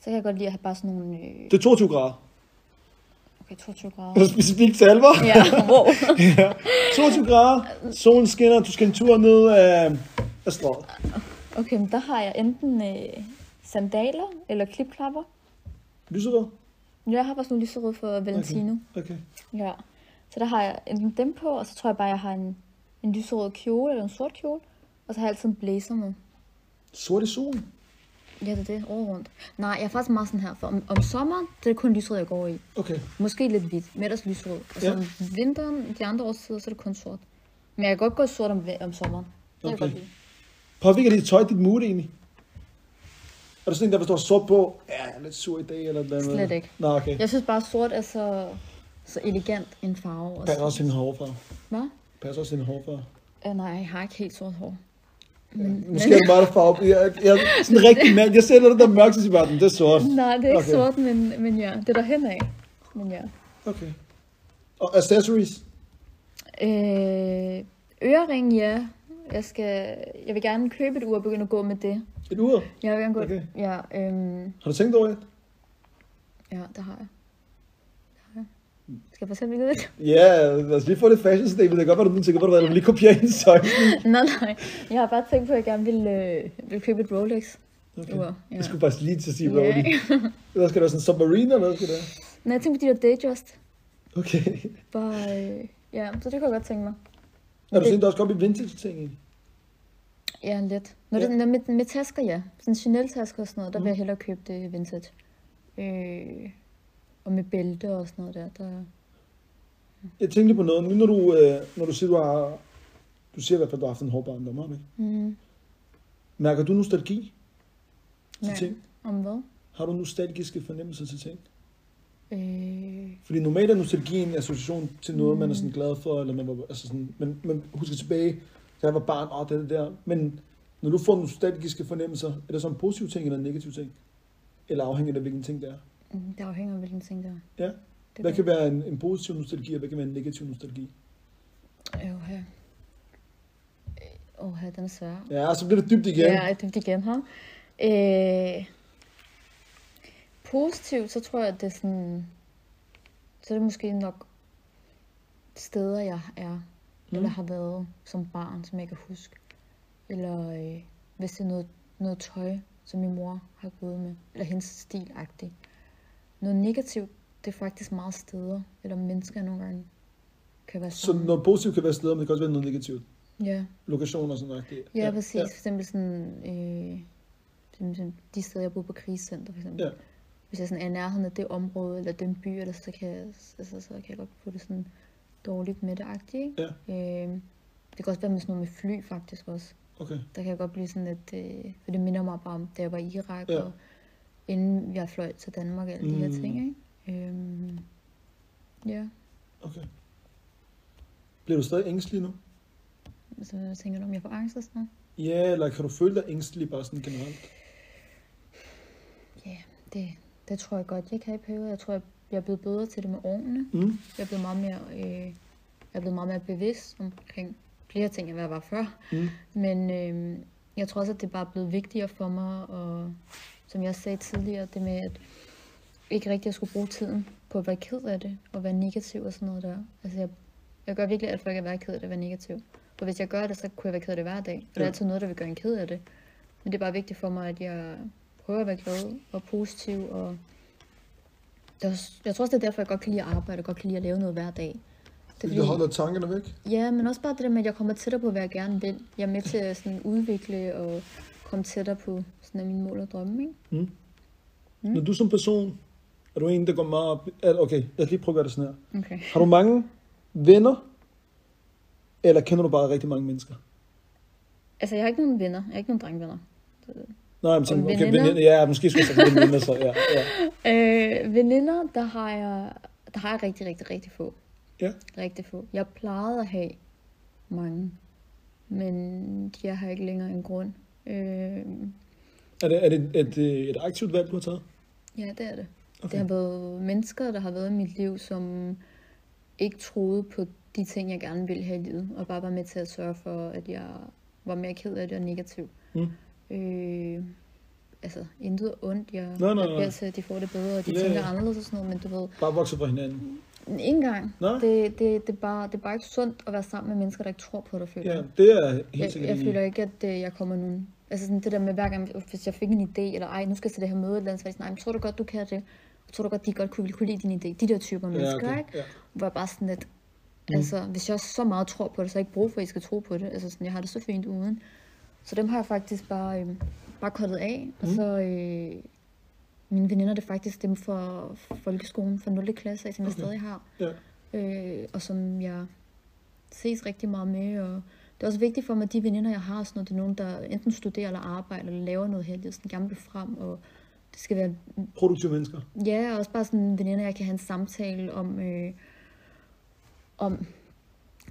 Speaker 2: så kan jeg godt lide at have bare sådan nogle... Øh,
Speaker 1: Det er 22 grader.
Speaker 2: okay, 22
Speaker 1: Det
Speaker 2: grader.
Speaker 1: er specifikt til alvor.
Speaker 2: Ja, wow.
Speaker 1: 22 grader, solen skinner, du skal en tur ned af, af strået.
Speaker 2: Okay, men der har jeg enten øh, sandaler eller klipklapper.
Speaker 1: Lyserød?
Speaker 2: Jeg har bare sådan nogle lyserøde for Valentino.
Speaker 1: Okay.
Speaker 2: Okay. Ja. Så der har jeg enten dem på, og så tror jeg bare, jeg har en, en lyserød kjole eller en sort kjole. Og så har jeg altid en blazer med.
Speaker 1: Sort i solen?
Speaker 2: Ja, det er det. Året rundt. Nej, jeg er faktisk meget sådan her, for om, om sommeren, det er det kun lyserød, jeg går i.
Speaker 1: Okay.
Speaker 2: Måske lidt hvidt, men ellers lyserød. Og så
Speaker 1: Ja.
Speaker 2: ja. om vinteren, de andre årstider, så er det kun sort. Men jeg kan godt gå i sort om, om sommeren. Det okay.
Speaker 1: Okay.
Speaker 2: jeg godt lide.
Speaker 1: Påvirker dit tøj dit mood egentlig? Er du sådan en, der forstår sort på, ja, jeg er lidt sur i dag, eller noget?
Speaker 2: Slet ikke.
Speaker 1: Nå, okay.
Speaker 2: Jeg synes bare, at sort er så, så elegant en farve. Og
Speaker 1: Passer
Speaker 2: så.
Speaker 1: også sin hårfarve.
Speaker 2: Hvad?
Speaker 1: Passer også sin hårfarve.
Speaker 2: Øh, nej, jeg har ikke helt sort hår.
Speaker 1: Måske er det bare der farve. Jeg, jeg, er sådan en rigtig mand. Jeg ser noget, der er mørkt, så siger jeg bare, det er sort.
Speaker 2: Nej, det er ikke
Speaker 1: Okay.
Speaker 2: okay. sort, men, men ja, det er der henad. Men ja.
Speaker 1: Okay. Og accessories?
Speaker 2: Øh, ørering, ja. Jeg, skal, jeg vil gerne købe et ur og begynde at gå med det.
Speaker 1: Et ur?
Speaker 2: Jeg vil gerne gå...
Speaker 1: Okay.
Speaker 2: Ja, øhm,
Speaker 1: Har du tænkt over det?
Speaker 2: ja, det har jeg. Det har jeg. Skal jeg fortælle vide det?
Speaker 1: Ja, lad os lige få lidt fashion statement. Det kan godt være, du nu tænker på det, hvad du lige kopierer hendes tøj.
Speaker 2: nej, nej. Jeg har bare tænkt på, at jeg gerne ville, øh, ville købe et Rolex.
Speaker 1: Okay.
Speaker 2: Ur, ja.
Speaker 1: Jeg skulle faktisk lige til at sige, hvad
Speaker 2: Ja.
Speaker 1: yeah. Hvad skal der sådan en submarine, eller hvad skal der?
Speaker 2: Men jeg tænkte på de der Datejust.
Speaker 1: Okay.
Speaker 2: Bare, øh, ja, så det kunne jeg godt tænke mig.
Speaker 1: Er du sådan, en, der også går op i vintage ting egentlig?
Speaker 2: Ja, lidt. Når,
Speaker 1: Ja. Mm.
Speaker 2: det, når med, med tasker, ja. Sådan Chanel-tasker og sådan noget, der vil jeg hellere købe det vintage. Øh, og med bælte og sådan noget der. der
Speaker 1: Jeg tænkte lige på noget. Nu når du, øh, når du siger, du har... Du siger i hvert fald, at du har haft en hård barndom, har du ikke?
Speaker 2: mm,
Speaker 1: Mærker du nostalgi til
Speaker 2: Nej.
Speaker 1: ting?
Speaker 2: om hvad?
Speaker 1: Har du nostalgiske fornemmelser til ting?
Speaker 2: Øh,
Speaker 1: Fordi normalt er nostalgi en association til noget, man er sådan glad for, eller man var, altså sådan, man, man husker tilbage, da jeg var barn, og det, det der. Men når du får nostalgiske fornemmelser, er det sådan en positiv ting eller en negativ ting? Eller afhængigt af, hvilken ting det er?
Speaker 2: mm, det afhænger af, hvilken ting der er.
Speaker 1: Ja.
Speaker 2: Det
Speaker 1: Hvad kan være en, en positiv nostalgi, og hvad kan være en negativ nostalgi?
Speaker 2: Øvhe. Åh, den er svær.
Speaker 1: Ja, så bliver det dybt igen.
Speaker 2: Ja, det er igen her. Øh, positivt, så tror jeg, at det er sådan... Så er det måske nok steder, jeg er, mm. eller har været som barn, som jeg kan huske. Eller øh, hvis det er noget, noget tøj, som min mor har gået med, eller hendes stilagtigt. Noget negativt, det er faktisk meget steder, eller mennesker nogle gange kan være
Speaker 1: Så
Speaker 2: sådan.
Speaker 1: noget positivt kan være steder, men det kan også være noget negativt.
Speaker 2: Ja.
Speaker 1: Lokationer og sådan noget. det-
Speaker 2: Ja, præcis. For eksempel sådan, øh, for eksempel de steder, jeg bor på krisecenter, for eksempel.
Speaker 1: Ja.
Speaker 2: Hvis jeg sådan er i nærheden af det område, eller den by, eller så kan jeg, altså, så kan jeg godt få det sådan dårligt med det agtigt, ikke?
Speaker 1: Ja,
Speaker 2: Øh, det kan også være med sådan noget med fly, faktisk også.
Speaker 1: okay.
Speaker 2: Der kan jeg godt blive sådan lidt, øh, for det minder mig bare om, da jeg var i Irak,
Speaker 1: Ja.
Speaker 2: ja. og inden jeg fløj til Danmark, og alle de her
Speaker 1: Mm.
Speaker 2: ting, ikke? Øh, ja,
Speaker 1: okay. Bliver du stadig ængstelig nu?
Speaker 2: så jeg tænker du, om jeg får angst og sådan noget?
Speaker 1: Ja, eller kan du føle dig ængstelig bare sådan generelt?
Speaker 2: Ja, det, det tror jeg godt, jeg kan i perioder. Jeg tror, jeg, jeg er blevet bedre til det med årene.
Speaker 1: Mm.
Speaker 2: Jeg er blevet meget mere, øh, jeg er blevet meget mere bevidst omkring flere ting, end hvad jeg var før.
Speaker 1: Mm.
Speaker 2: Men øh, jeg tror også, at det bare er blevet vigtigere for mig, og som jeg også sagde tidligere, det med, at ikke rigtig at skulle bruge tiden på at være ked af det, og være negativ og sådan noget der. Altså, jeg, jeg gør virkelig alt for ikke at være ked af det, at være negativ. For hvis jeg gør det, så kunne jeg være ked af det hver dag. For ja. der
Speaker 1: Ja.
Speaker 2: er altid noget, der vil gøre en ked af det. Men det er bare vigtigt for mig, at jeg prøver at være glad og positiv. Og det er også, jeg tror også, det er derfor, jeg godt kan lide at arbejde, og godt kan lide at lave noget hver dag. Det er
Speaker 1: Fordi... Du holder tankerne væk?
Speaker 2: Ja, men også bare det der med, at jeg kommer tættere på, hvad jeg gerne vil. Jeg er med til at sådan udvikle og komme tættere på sådan af mine mål og drømme, ikke?
Speaker 1: Mm. Når du som person, er du en, der går meget op... al- Okay, lad os lige prøve at gøre det sådan her.
Speaker 2: Okay.
Speaker 1: Har du mange venner, eller kender du bare rigtig mange mennesker?
Speaker 2: Altså, jeg har ikke nogen venner. Jeg har ikke nogen drengvenner.
Speaker 1: Nej, men sådan,
Speaker 2: Og
Speaker 1: okay,
Speaker 2: veninder?
Speaker 1: veninder, ja, måske skulle jeg sige veninder, så ja. ja.
Speaker 2: Øh, veninder, der har, jeg, der har jeg rigtig, rigtig, rigtig få.
Speaker 1: Ja.
Speaker 2: Rigtig få. Jeg plejede at have mange, men jeg har ikke længere en grund. Øh,
Speaker 1: Er det, er det et, øh, et aktivt valg, du har taget?
Speaker 2: ja, det er det. Okay.
Speaker 1: Okay.
Speaker 2: Det har været mennesker, der har været i mit liv, som ikke troede på de ting, jeg gerne ville have i livet, og bare var med til at sørge for, at jeg var mere ked af det og negativ.
Speaker 1: Mm.
Speaker 2: Øh, altså, intet ondt. Jeg,
Speaker 1: nej, nej.
Speaker 2: jeg bliver til, at de får det bedre, og de
Speaker 1: Ja,
Speaker 2: yeah. tænker
Speaker 1: ja.
Speaker 2: anderledes og sådan noget, men du ved,
Speaker 1: Bare vokse fra hinanden?
Speaker 2: Ikke engang.
Speaker 1: Nå.
Speaker 2: Det, det, det, er bare, det er bare ikke sundt at være sammen med mennesker, der ikke tror på dig, føler
Speaker 1: Ja,
Speaker 2: jeg.
Speaker 1: det er jeg helt
Speaker 2: Jeg,
Speaker 1: sikkert
Speaker 2: jeg
Speaker 1: enig i.
Speaker 2: føler ikke, at øh, jeg kommer nogen... Altså sådan det der med, hver gang, hvis jeg fik en idé, eller ej, nu skal jeg til det her møde, eller andet, så var jeg sådan, nej, men tror du godt, du kan det? Tror du godt, de godt kunne, ville kunne lide din idé? De der typer
Speaker 1: Ja,
Speaker 2: mennesker,
Speaker 1: okay.
Speaker 2: ikke?
Speaker 1: ja.
Speaker 2: Hvor jeg bare sådan lidt, altså, hvis jeg så meget tror på det, så har jeg ikke brug for, at I skal tro på det. Altså sådan, jeg har det så fint uden. Så dem har jeg faktisk bare, øh, bare kottet af. Mm. Og så, øh, mine veninder, det er faktisk dem fra folkeskolen, fra 0. klasse, af, som jeg
Speaker 1: Okay.
Speaker 2: stadig har
Speaker 1: ja.
Speaker 2: øh, og som jeg ses rigtig meget med. Og det er også vigtigt for mig, at de veninder, jeg har, sådan noget, det er nogen, der enten studerer eller arbejder, eller laver noget her, de er sådan gerne vil frem, og det skal være,
Speaker 1: Produktive mennesker.
Speaker 2: ja, og også bare sådan veninder, jeg kan have en samtale om, øh, om,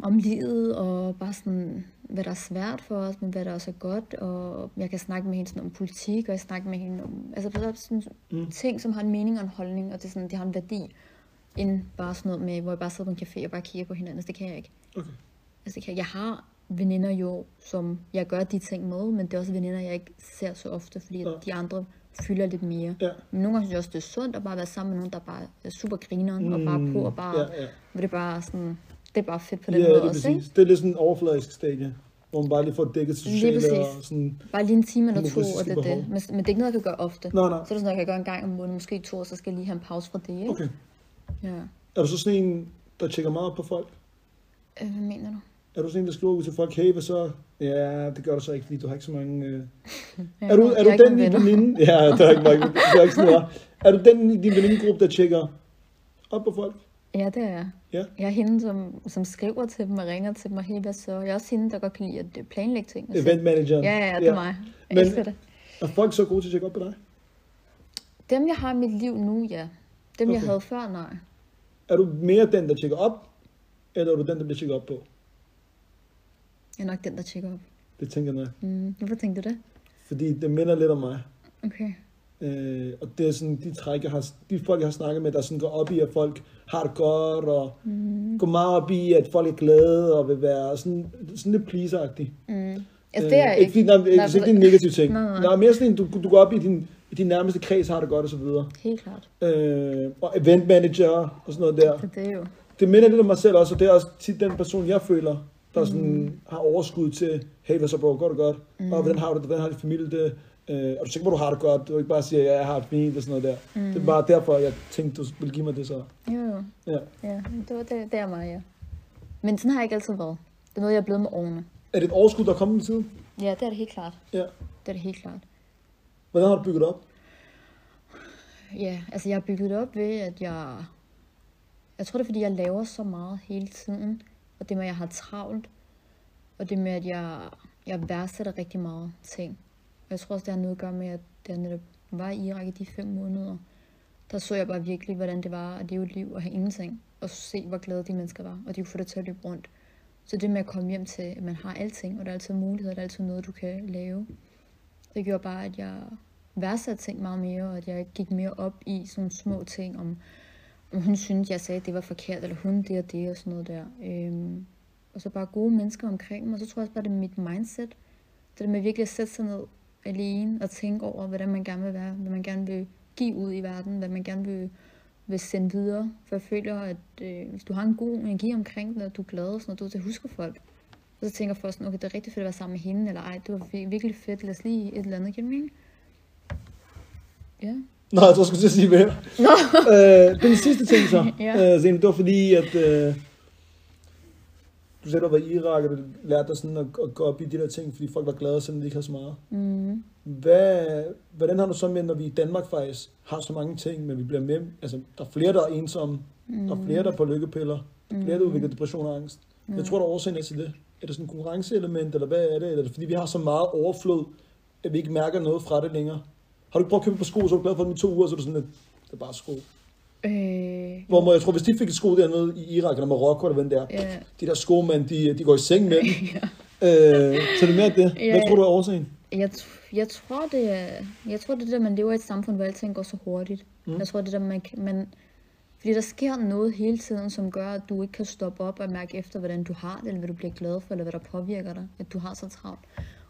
Speaker 2: om livet, og bare sådan, hvad der er svært for os, men hvad der også er godt, og jeg kan snakke med hende sådan om politik, og jeg snakker med hende om, altså der er sådan mm. ting, som har en mening og en holdning, og det er sådan, det har en værdi, end bare sådan noget med, hvor jeg bare sidder på en café og bare kigger på hinanden, altså det kan jeg ikke.
Speaker 1: Okay.
Speaker 2: Altså, det kan- jeg har veninder jo, som jeg gør de ting med, men det er også veninder, jeg ikke ser så ofte, fordi
Speaker 1: Ja.
Speaker 2: ja. de andre fylder lidt mere.
Speaker 1: Ja.
Speaker 2: Men nogle gange synes jeg også, det er sundt at bare være sammen med nogen, der bare er super grineren, mm, og bare på, og bare,
Speaker 1: Ja, ja.
Speaker 2: hvor det er bare sådan, det er bare fedt på
Speaker 1: Ja,
Speaker 2: den
Speaker 1: det
Speaker 2: måde
Speaker 1: er
Speaker 2: også,
Speaker 1: præcis.
Speaker 2: ikke?
Speaker 1: Det er lidt sådan en overfladisk stadie, hvor man bare lige får dækket til
Speaker 2: Lige
Speaker 1: sociale
Speaker 2: præcis.
Speaker 1: og sådan...
Speaker 2: Bare lige en time eller
Speaker 1: Lige
Speaker 2: to,
Speaker 1: præcis,
Speaker 2: og det er
Speaker 1: behov.
Speaker 2: det. Men, men det er ikke noget, jeg kan gøre ofte.
Speaker 1: Nej, nej.
Speaker 2: Så er det sådan, noget, jeg kan gøre en gang om måneden, måske to, og så skal jeg lige have en pause fra det, ikke?
Speaker 1: Okay.
Speaker 2: Ja.
Speaker 1: Er du så sådan en, der tjekker meget op på folk?
Speaker 2: Øh, hvad mener du?
Speaker 1: Er du sådan en, der skriver ud til folk, hey, hvad så? Ja, det gør du så ikke, fordi du har ikke så mange... Øh...
Speaker 2: Ja,
Speaker 1: Er du,
Speaker 2: jeg
Speaker 1: er
Speaker 2: har
Speaker 1: du
Speaker 2: ikke
Speaker 1: den
Speaker 2: nogen
Speaker 1: i
Speaker 2: venner.
Speaker 1: din veninde? Ja, det er ikke, mange, det er ikke sådan noget. Er du den i din venindegruppe, der tjekker op på folk?
Speaker 2: Ja, det er jeg.
Speaker 1: Ja.
Speaker 2: Jeg er hende, som, som skriver til dem og ringer til dem og hey, hvad så? Jeg er også hende, der godt kan lide at øh, planlægge ting. og
Speaker 1: Event manageren?
Speaker 2: Ja, ja, ja, det er mig. Jeg
Speaker 1: Men-
Speaker 2: Men... elsker det.
Speaker 1: Er folk så gode til at tjekke op på dig?
Speaker 2: Dem, jeg har i mit liv nu, ja. Dem, okay. jeg
Speaker 1: Okay.
Speaker 2: havde før, nej.
Speaker 1: Er du mere den, der tjekker op, eller er du den, der bliver tjekket op på?
Speaker 2: Jeg er nok den, der tjekker op.
Speaker 1: Det tænker jeg nok.
Speaker 2: Mm, hvorfor tænkte du det?
Speaker 1: Fordi det minder lidt om mig.
Speaker 2: Okay.
Speaker 1: Øh, og det er sådan de træk, jeg har, de folk, jeg har snakket med, der sådan går op i, at folk har det godt, og mm. går meget op i, at folk er glade, og vil være sådan, sådan lidt pleaseragtig.
Speaker 2: Mm. Altså, det er jeg
Speaker 1: Øh, ikke.
Speaker 2: ikke.
Speaker 1: Fordi, nej, nej,
Speaker 2: Nej,
Speaker 1: ikke, det er en negativ ting. Nej, nej. nej mere sådan en, du, du går op i din, i din nærmeste kreds, har det godt, og så videre.
Speaker 2: Helt klart.
Speaker 1: Øh, og event manager, og sådan noget der.
Speaker 2: Så det er jo...
Speaker 1: Det minder lidt om mig selv også, og det er også tit den person, jeg føler, der sådan har overskud til, hey, hvad så bro, går det godt? Mm. Og hvordan har du det? Hvordan har din familie det? Øh, er du sikker på, du har det godt? Du kan ikke bare sige, ja, jeg har det fint og sådan noget der. Mm. Det er bare derfor, jeg tænkte, du ville give mig det så.
Speaker 2: Jo, jo.
Speaker 1: Ja.
Speaker 2: Ja, det, var, det, det er mig, ja. Men sådan har jeg ikke altid været. Det er noget, jeg er blevet med årene.
Speaker 1: Er det et overskud, der er kommet med tiden?
Speaker 2: Ja, det er det helt klart.
Speaker 1: Ja.
Speaker 2: Det er det helt klart.
Speaker 1: Hvordan har du bygget det op?
Speaker 2: Ja, altså jeg har bygget det op ved, at jeg... Jeg tror, det er, fordi jeg laver så meget hele tiden. Og det med, at jeg har travlt. Og det med, at jeg, jeg værdsætter rigtig meget ting. Og jeg tror også, det har noget at gøre med, at da jeg netop var i Irak i de fem måneder, der så jeg bare virkelig, hvordan det var at leve et liv og have ingenting. Og se, hvor glade de mennesker var, og de kunne få det til at løbe rundt. Så det med at komme hjem til, at man har alting, og der er altid muligheder, der er altid noget, du kan lave. Det gjorde bare, at jeg værdsatte ting meget mere, og at jeg ikke gik mere op i sådan små ting, om, om hun syntes, jeg sagde, at det var forkert, eller hun det og det, og sådan noget der. Øhm, og så bare gode mennesker omkring mig, og så tror jeg også bare, det er mit mindset. Det der med virkelig at sætte sig ned alene og tænke over, hvordan man gerne vil være, hvad man gerne vil give ud i verden, hvad man gerne vil, vil sende videre. For jeg føler, at øh, hvis du har en god energi omkring dig, og du er glad og sådan noget, du er til at huske folk. Og så tænker folk sådan, okay, det er rigtig fedt at være sammen med hende, eller ej, det var vir- virkelig fedt, lad os lige et eller andet, giver det mening? Ja.
Speaker 1: Nej, jeg tror, jeg skulle til at sige hvem.
Speaker 2: Nå.
Speaker 1: øh, den sidste ting så,
Speaker 2: Ja.
Speaker 1: ja. øh, Zene, det var fordi, at øh, du selv har været i Irak, og du lærte dig sådan at, at gå op i de der ting, fordi folk var glade, selvom de ikke havde så meget.
Speaker 2: Mm.
Speaker 1: Hvad, hvordan har du så med, når vi i Danmark faktisk har så mange ting, men vi bliver med, altså der er flere, der er ensomme, mm. der er flere, der er på lykkepiller, der er flere, der udvikler depression og angst. Mm. Jeg tror, der er årsagen er til det. Er det sådan et konkurrenceelement, eller hvad er det? Eller er det fordi, vi har så meget overflod, at vi ikke mærker noget fra det længere? Har du ikke prøvet at købe på sko, så er du glad for dem i to uger, så er du sådan lidt, det er bare sko.
Speaker 2: Øh,
Speaker 1: Hvor må, jeg tror, hvis de fik et sko dernede i Irak eller Marokko, eller hvad det er,
Speaker 2: Ja.
Speaker 1: de der skomænd, de, de går i seng med dem. øh, så det er mere det. Hvad
Speaker 2: Ja.
Speaker 1: tror du er årsagen?
Speaker 2: jeg, tr- jeg, tror, det er, jeg tror, det er det, at man lever i et samfund, hvor alting går så hurtigt. Mm. Jeg tror, det er det, man, kan- man... Fordi der sker noget hele tiden, som gør, at du ikke kan stoppe op og mærke efter, hvordan du har det, eller hvad du bliver glad for, eller hvad der påvirker dig, at du har så travlt.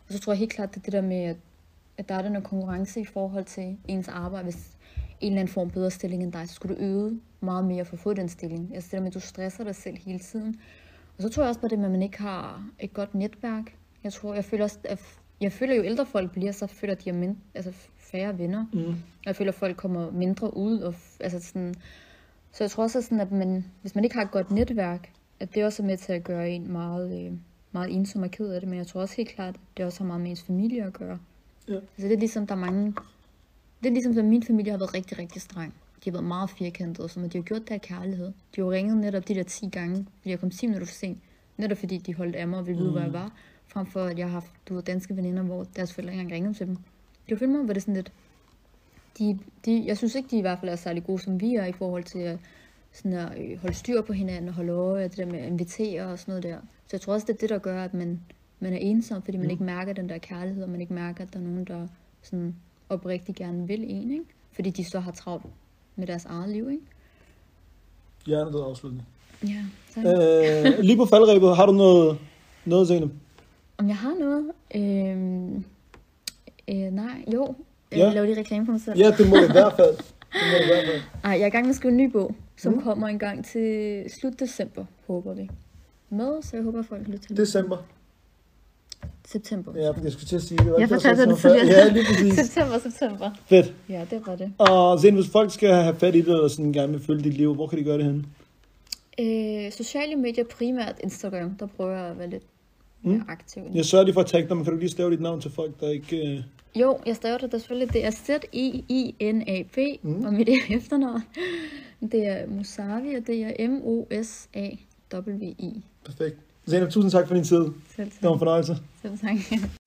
Speaker 2: Og så tror jeg helt klart, det er det der med, at, at der er den her konkurrence i forhold til ens arbejde. Hvis en eller anden form bedre stilling end dig, så skulle du øve meget mere for at få den stilling. Altså det der med, at du stresser dig selv hele tiden. Og så tror jeg også på det med, at man ikke har et godt netværk. Jeg tror, jeg føler også, at jeg føler, jo ældre folk bliver, så føler de, at de har min- altså færre venner. Mm. Jeg føler, at folk kommer mindre ud. Og f- altså sådan, så jeg tror også, at, sådan, at man, hvis man ikke har et godt netværk, at det også er med til at gøre en meget, øh, meget ensom og ked af det. Men jeg tror også helt klart, at det også har meget med ens familie at gøre.
Speaker 1: Ja.
Speaker 2: Altså det er ligesom, der er mange... Det er ligesom, at min familie har været rigtig, rigtig streng. De har været meget firkantede, så men de har gjort det af kærlighed. De har jo ringet netop de der 10 gange, fordi jeg kom 10 minutter for sent. Netop fordi de holdt af mig og ville vide, mm. hvor jeg var. Frem for, at jeg har haft du ved, danske veninder, hvor deres forældre ikke engang ringede til dem. Det var for mig, hvor det er sådan lidt... De, de, jeg synes ikke, de i hvert fald er særlig gode, som vi er, i forhold til at, sådan at øh, holde styr på hinanden og holde øje, og det der med at invitere og sådan noget der. Så jeg tror også, det er det, der gør, at man, man er ensom, fordi man mm. ikke mærker den der kærlighed, og man ikke mærker, at der er nogen, der sådan oprigtigt gerne vil en, ikke? Fordi de så har travlt med deres eget liv, ikke?
Speaker 1: Hjernedød afslutning.
Speaker 2: Ja, tak.
Speaker 1: Øh, lige på faldrebet, har du noget, noget Zene?
Speaker 2: Om jeg har noget? Øhm, øh, nej, jo. Jeg
Speaker 1: Ja.
Speaker 2: laver lige reklame for mig selv.
Speaker 1: Ja, det må det i hvert fald. Det må det i hvert fald.
Speaker 2: Ej, jeg er i gang med at skrive en ny bog, som mm. kommer en gang til slut december, håber vi. Med, så jeg håber, at folk lytter til den.
Speaker 1: December.
Speaker 2: September.
Speaker 1: Ja, fordi jeg skulle til at sige det. var
Speaker 2: Jeg
Speaker 1: ikke det, der
Speaker 2: fortalte
Speaker 1: sagde
Speaker 2: dig det
Speaker 1: så fald.
Speaker 2: tidligere.
Speaker 1: Ja, lige præcis.
Speaker 2: september, september.
Speaker 1: Fedt.
Speaker 2: Ja, det var det.
Speaker 1: Og Zene, hvis folk skal have fat i det, eller sådan gerne vil følge dit liv, hvor kan de gøre det henne?
Speaker 2: Øh, sociale medier, primært Instagram, der prøver jeg at være lidt
Speaker 1: Mm.
Speaker 2: mere aktiv.
Speaker 1: Jeg sørger lige for at tagge dig, men kan du lige stave dit navn til folk, der ikke... Øh...
Speaker 2: Jo, jeg staver det da selvfølgelig. Det er Z-I-I-N-A-P, mm. og mit efternavn. Det er Musavi, og det er M-O-S-A-W-I.
Speaker 1: Perfekt. Zene, tusind tak for din tid.
Speaker 2: Selv
Speaker 1: Det var
Speaker 2: tak.
Speaker 1: en fornøjelse.
Speaker 2: Selv tak.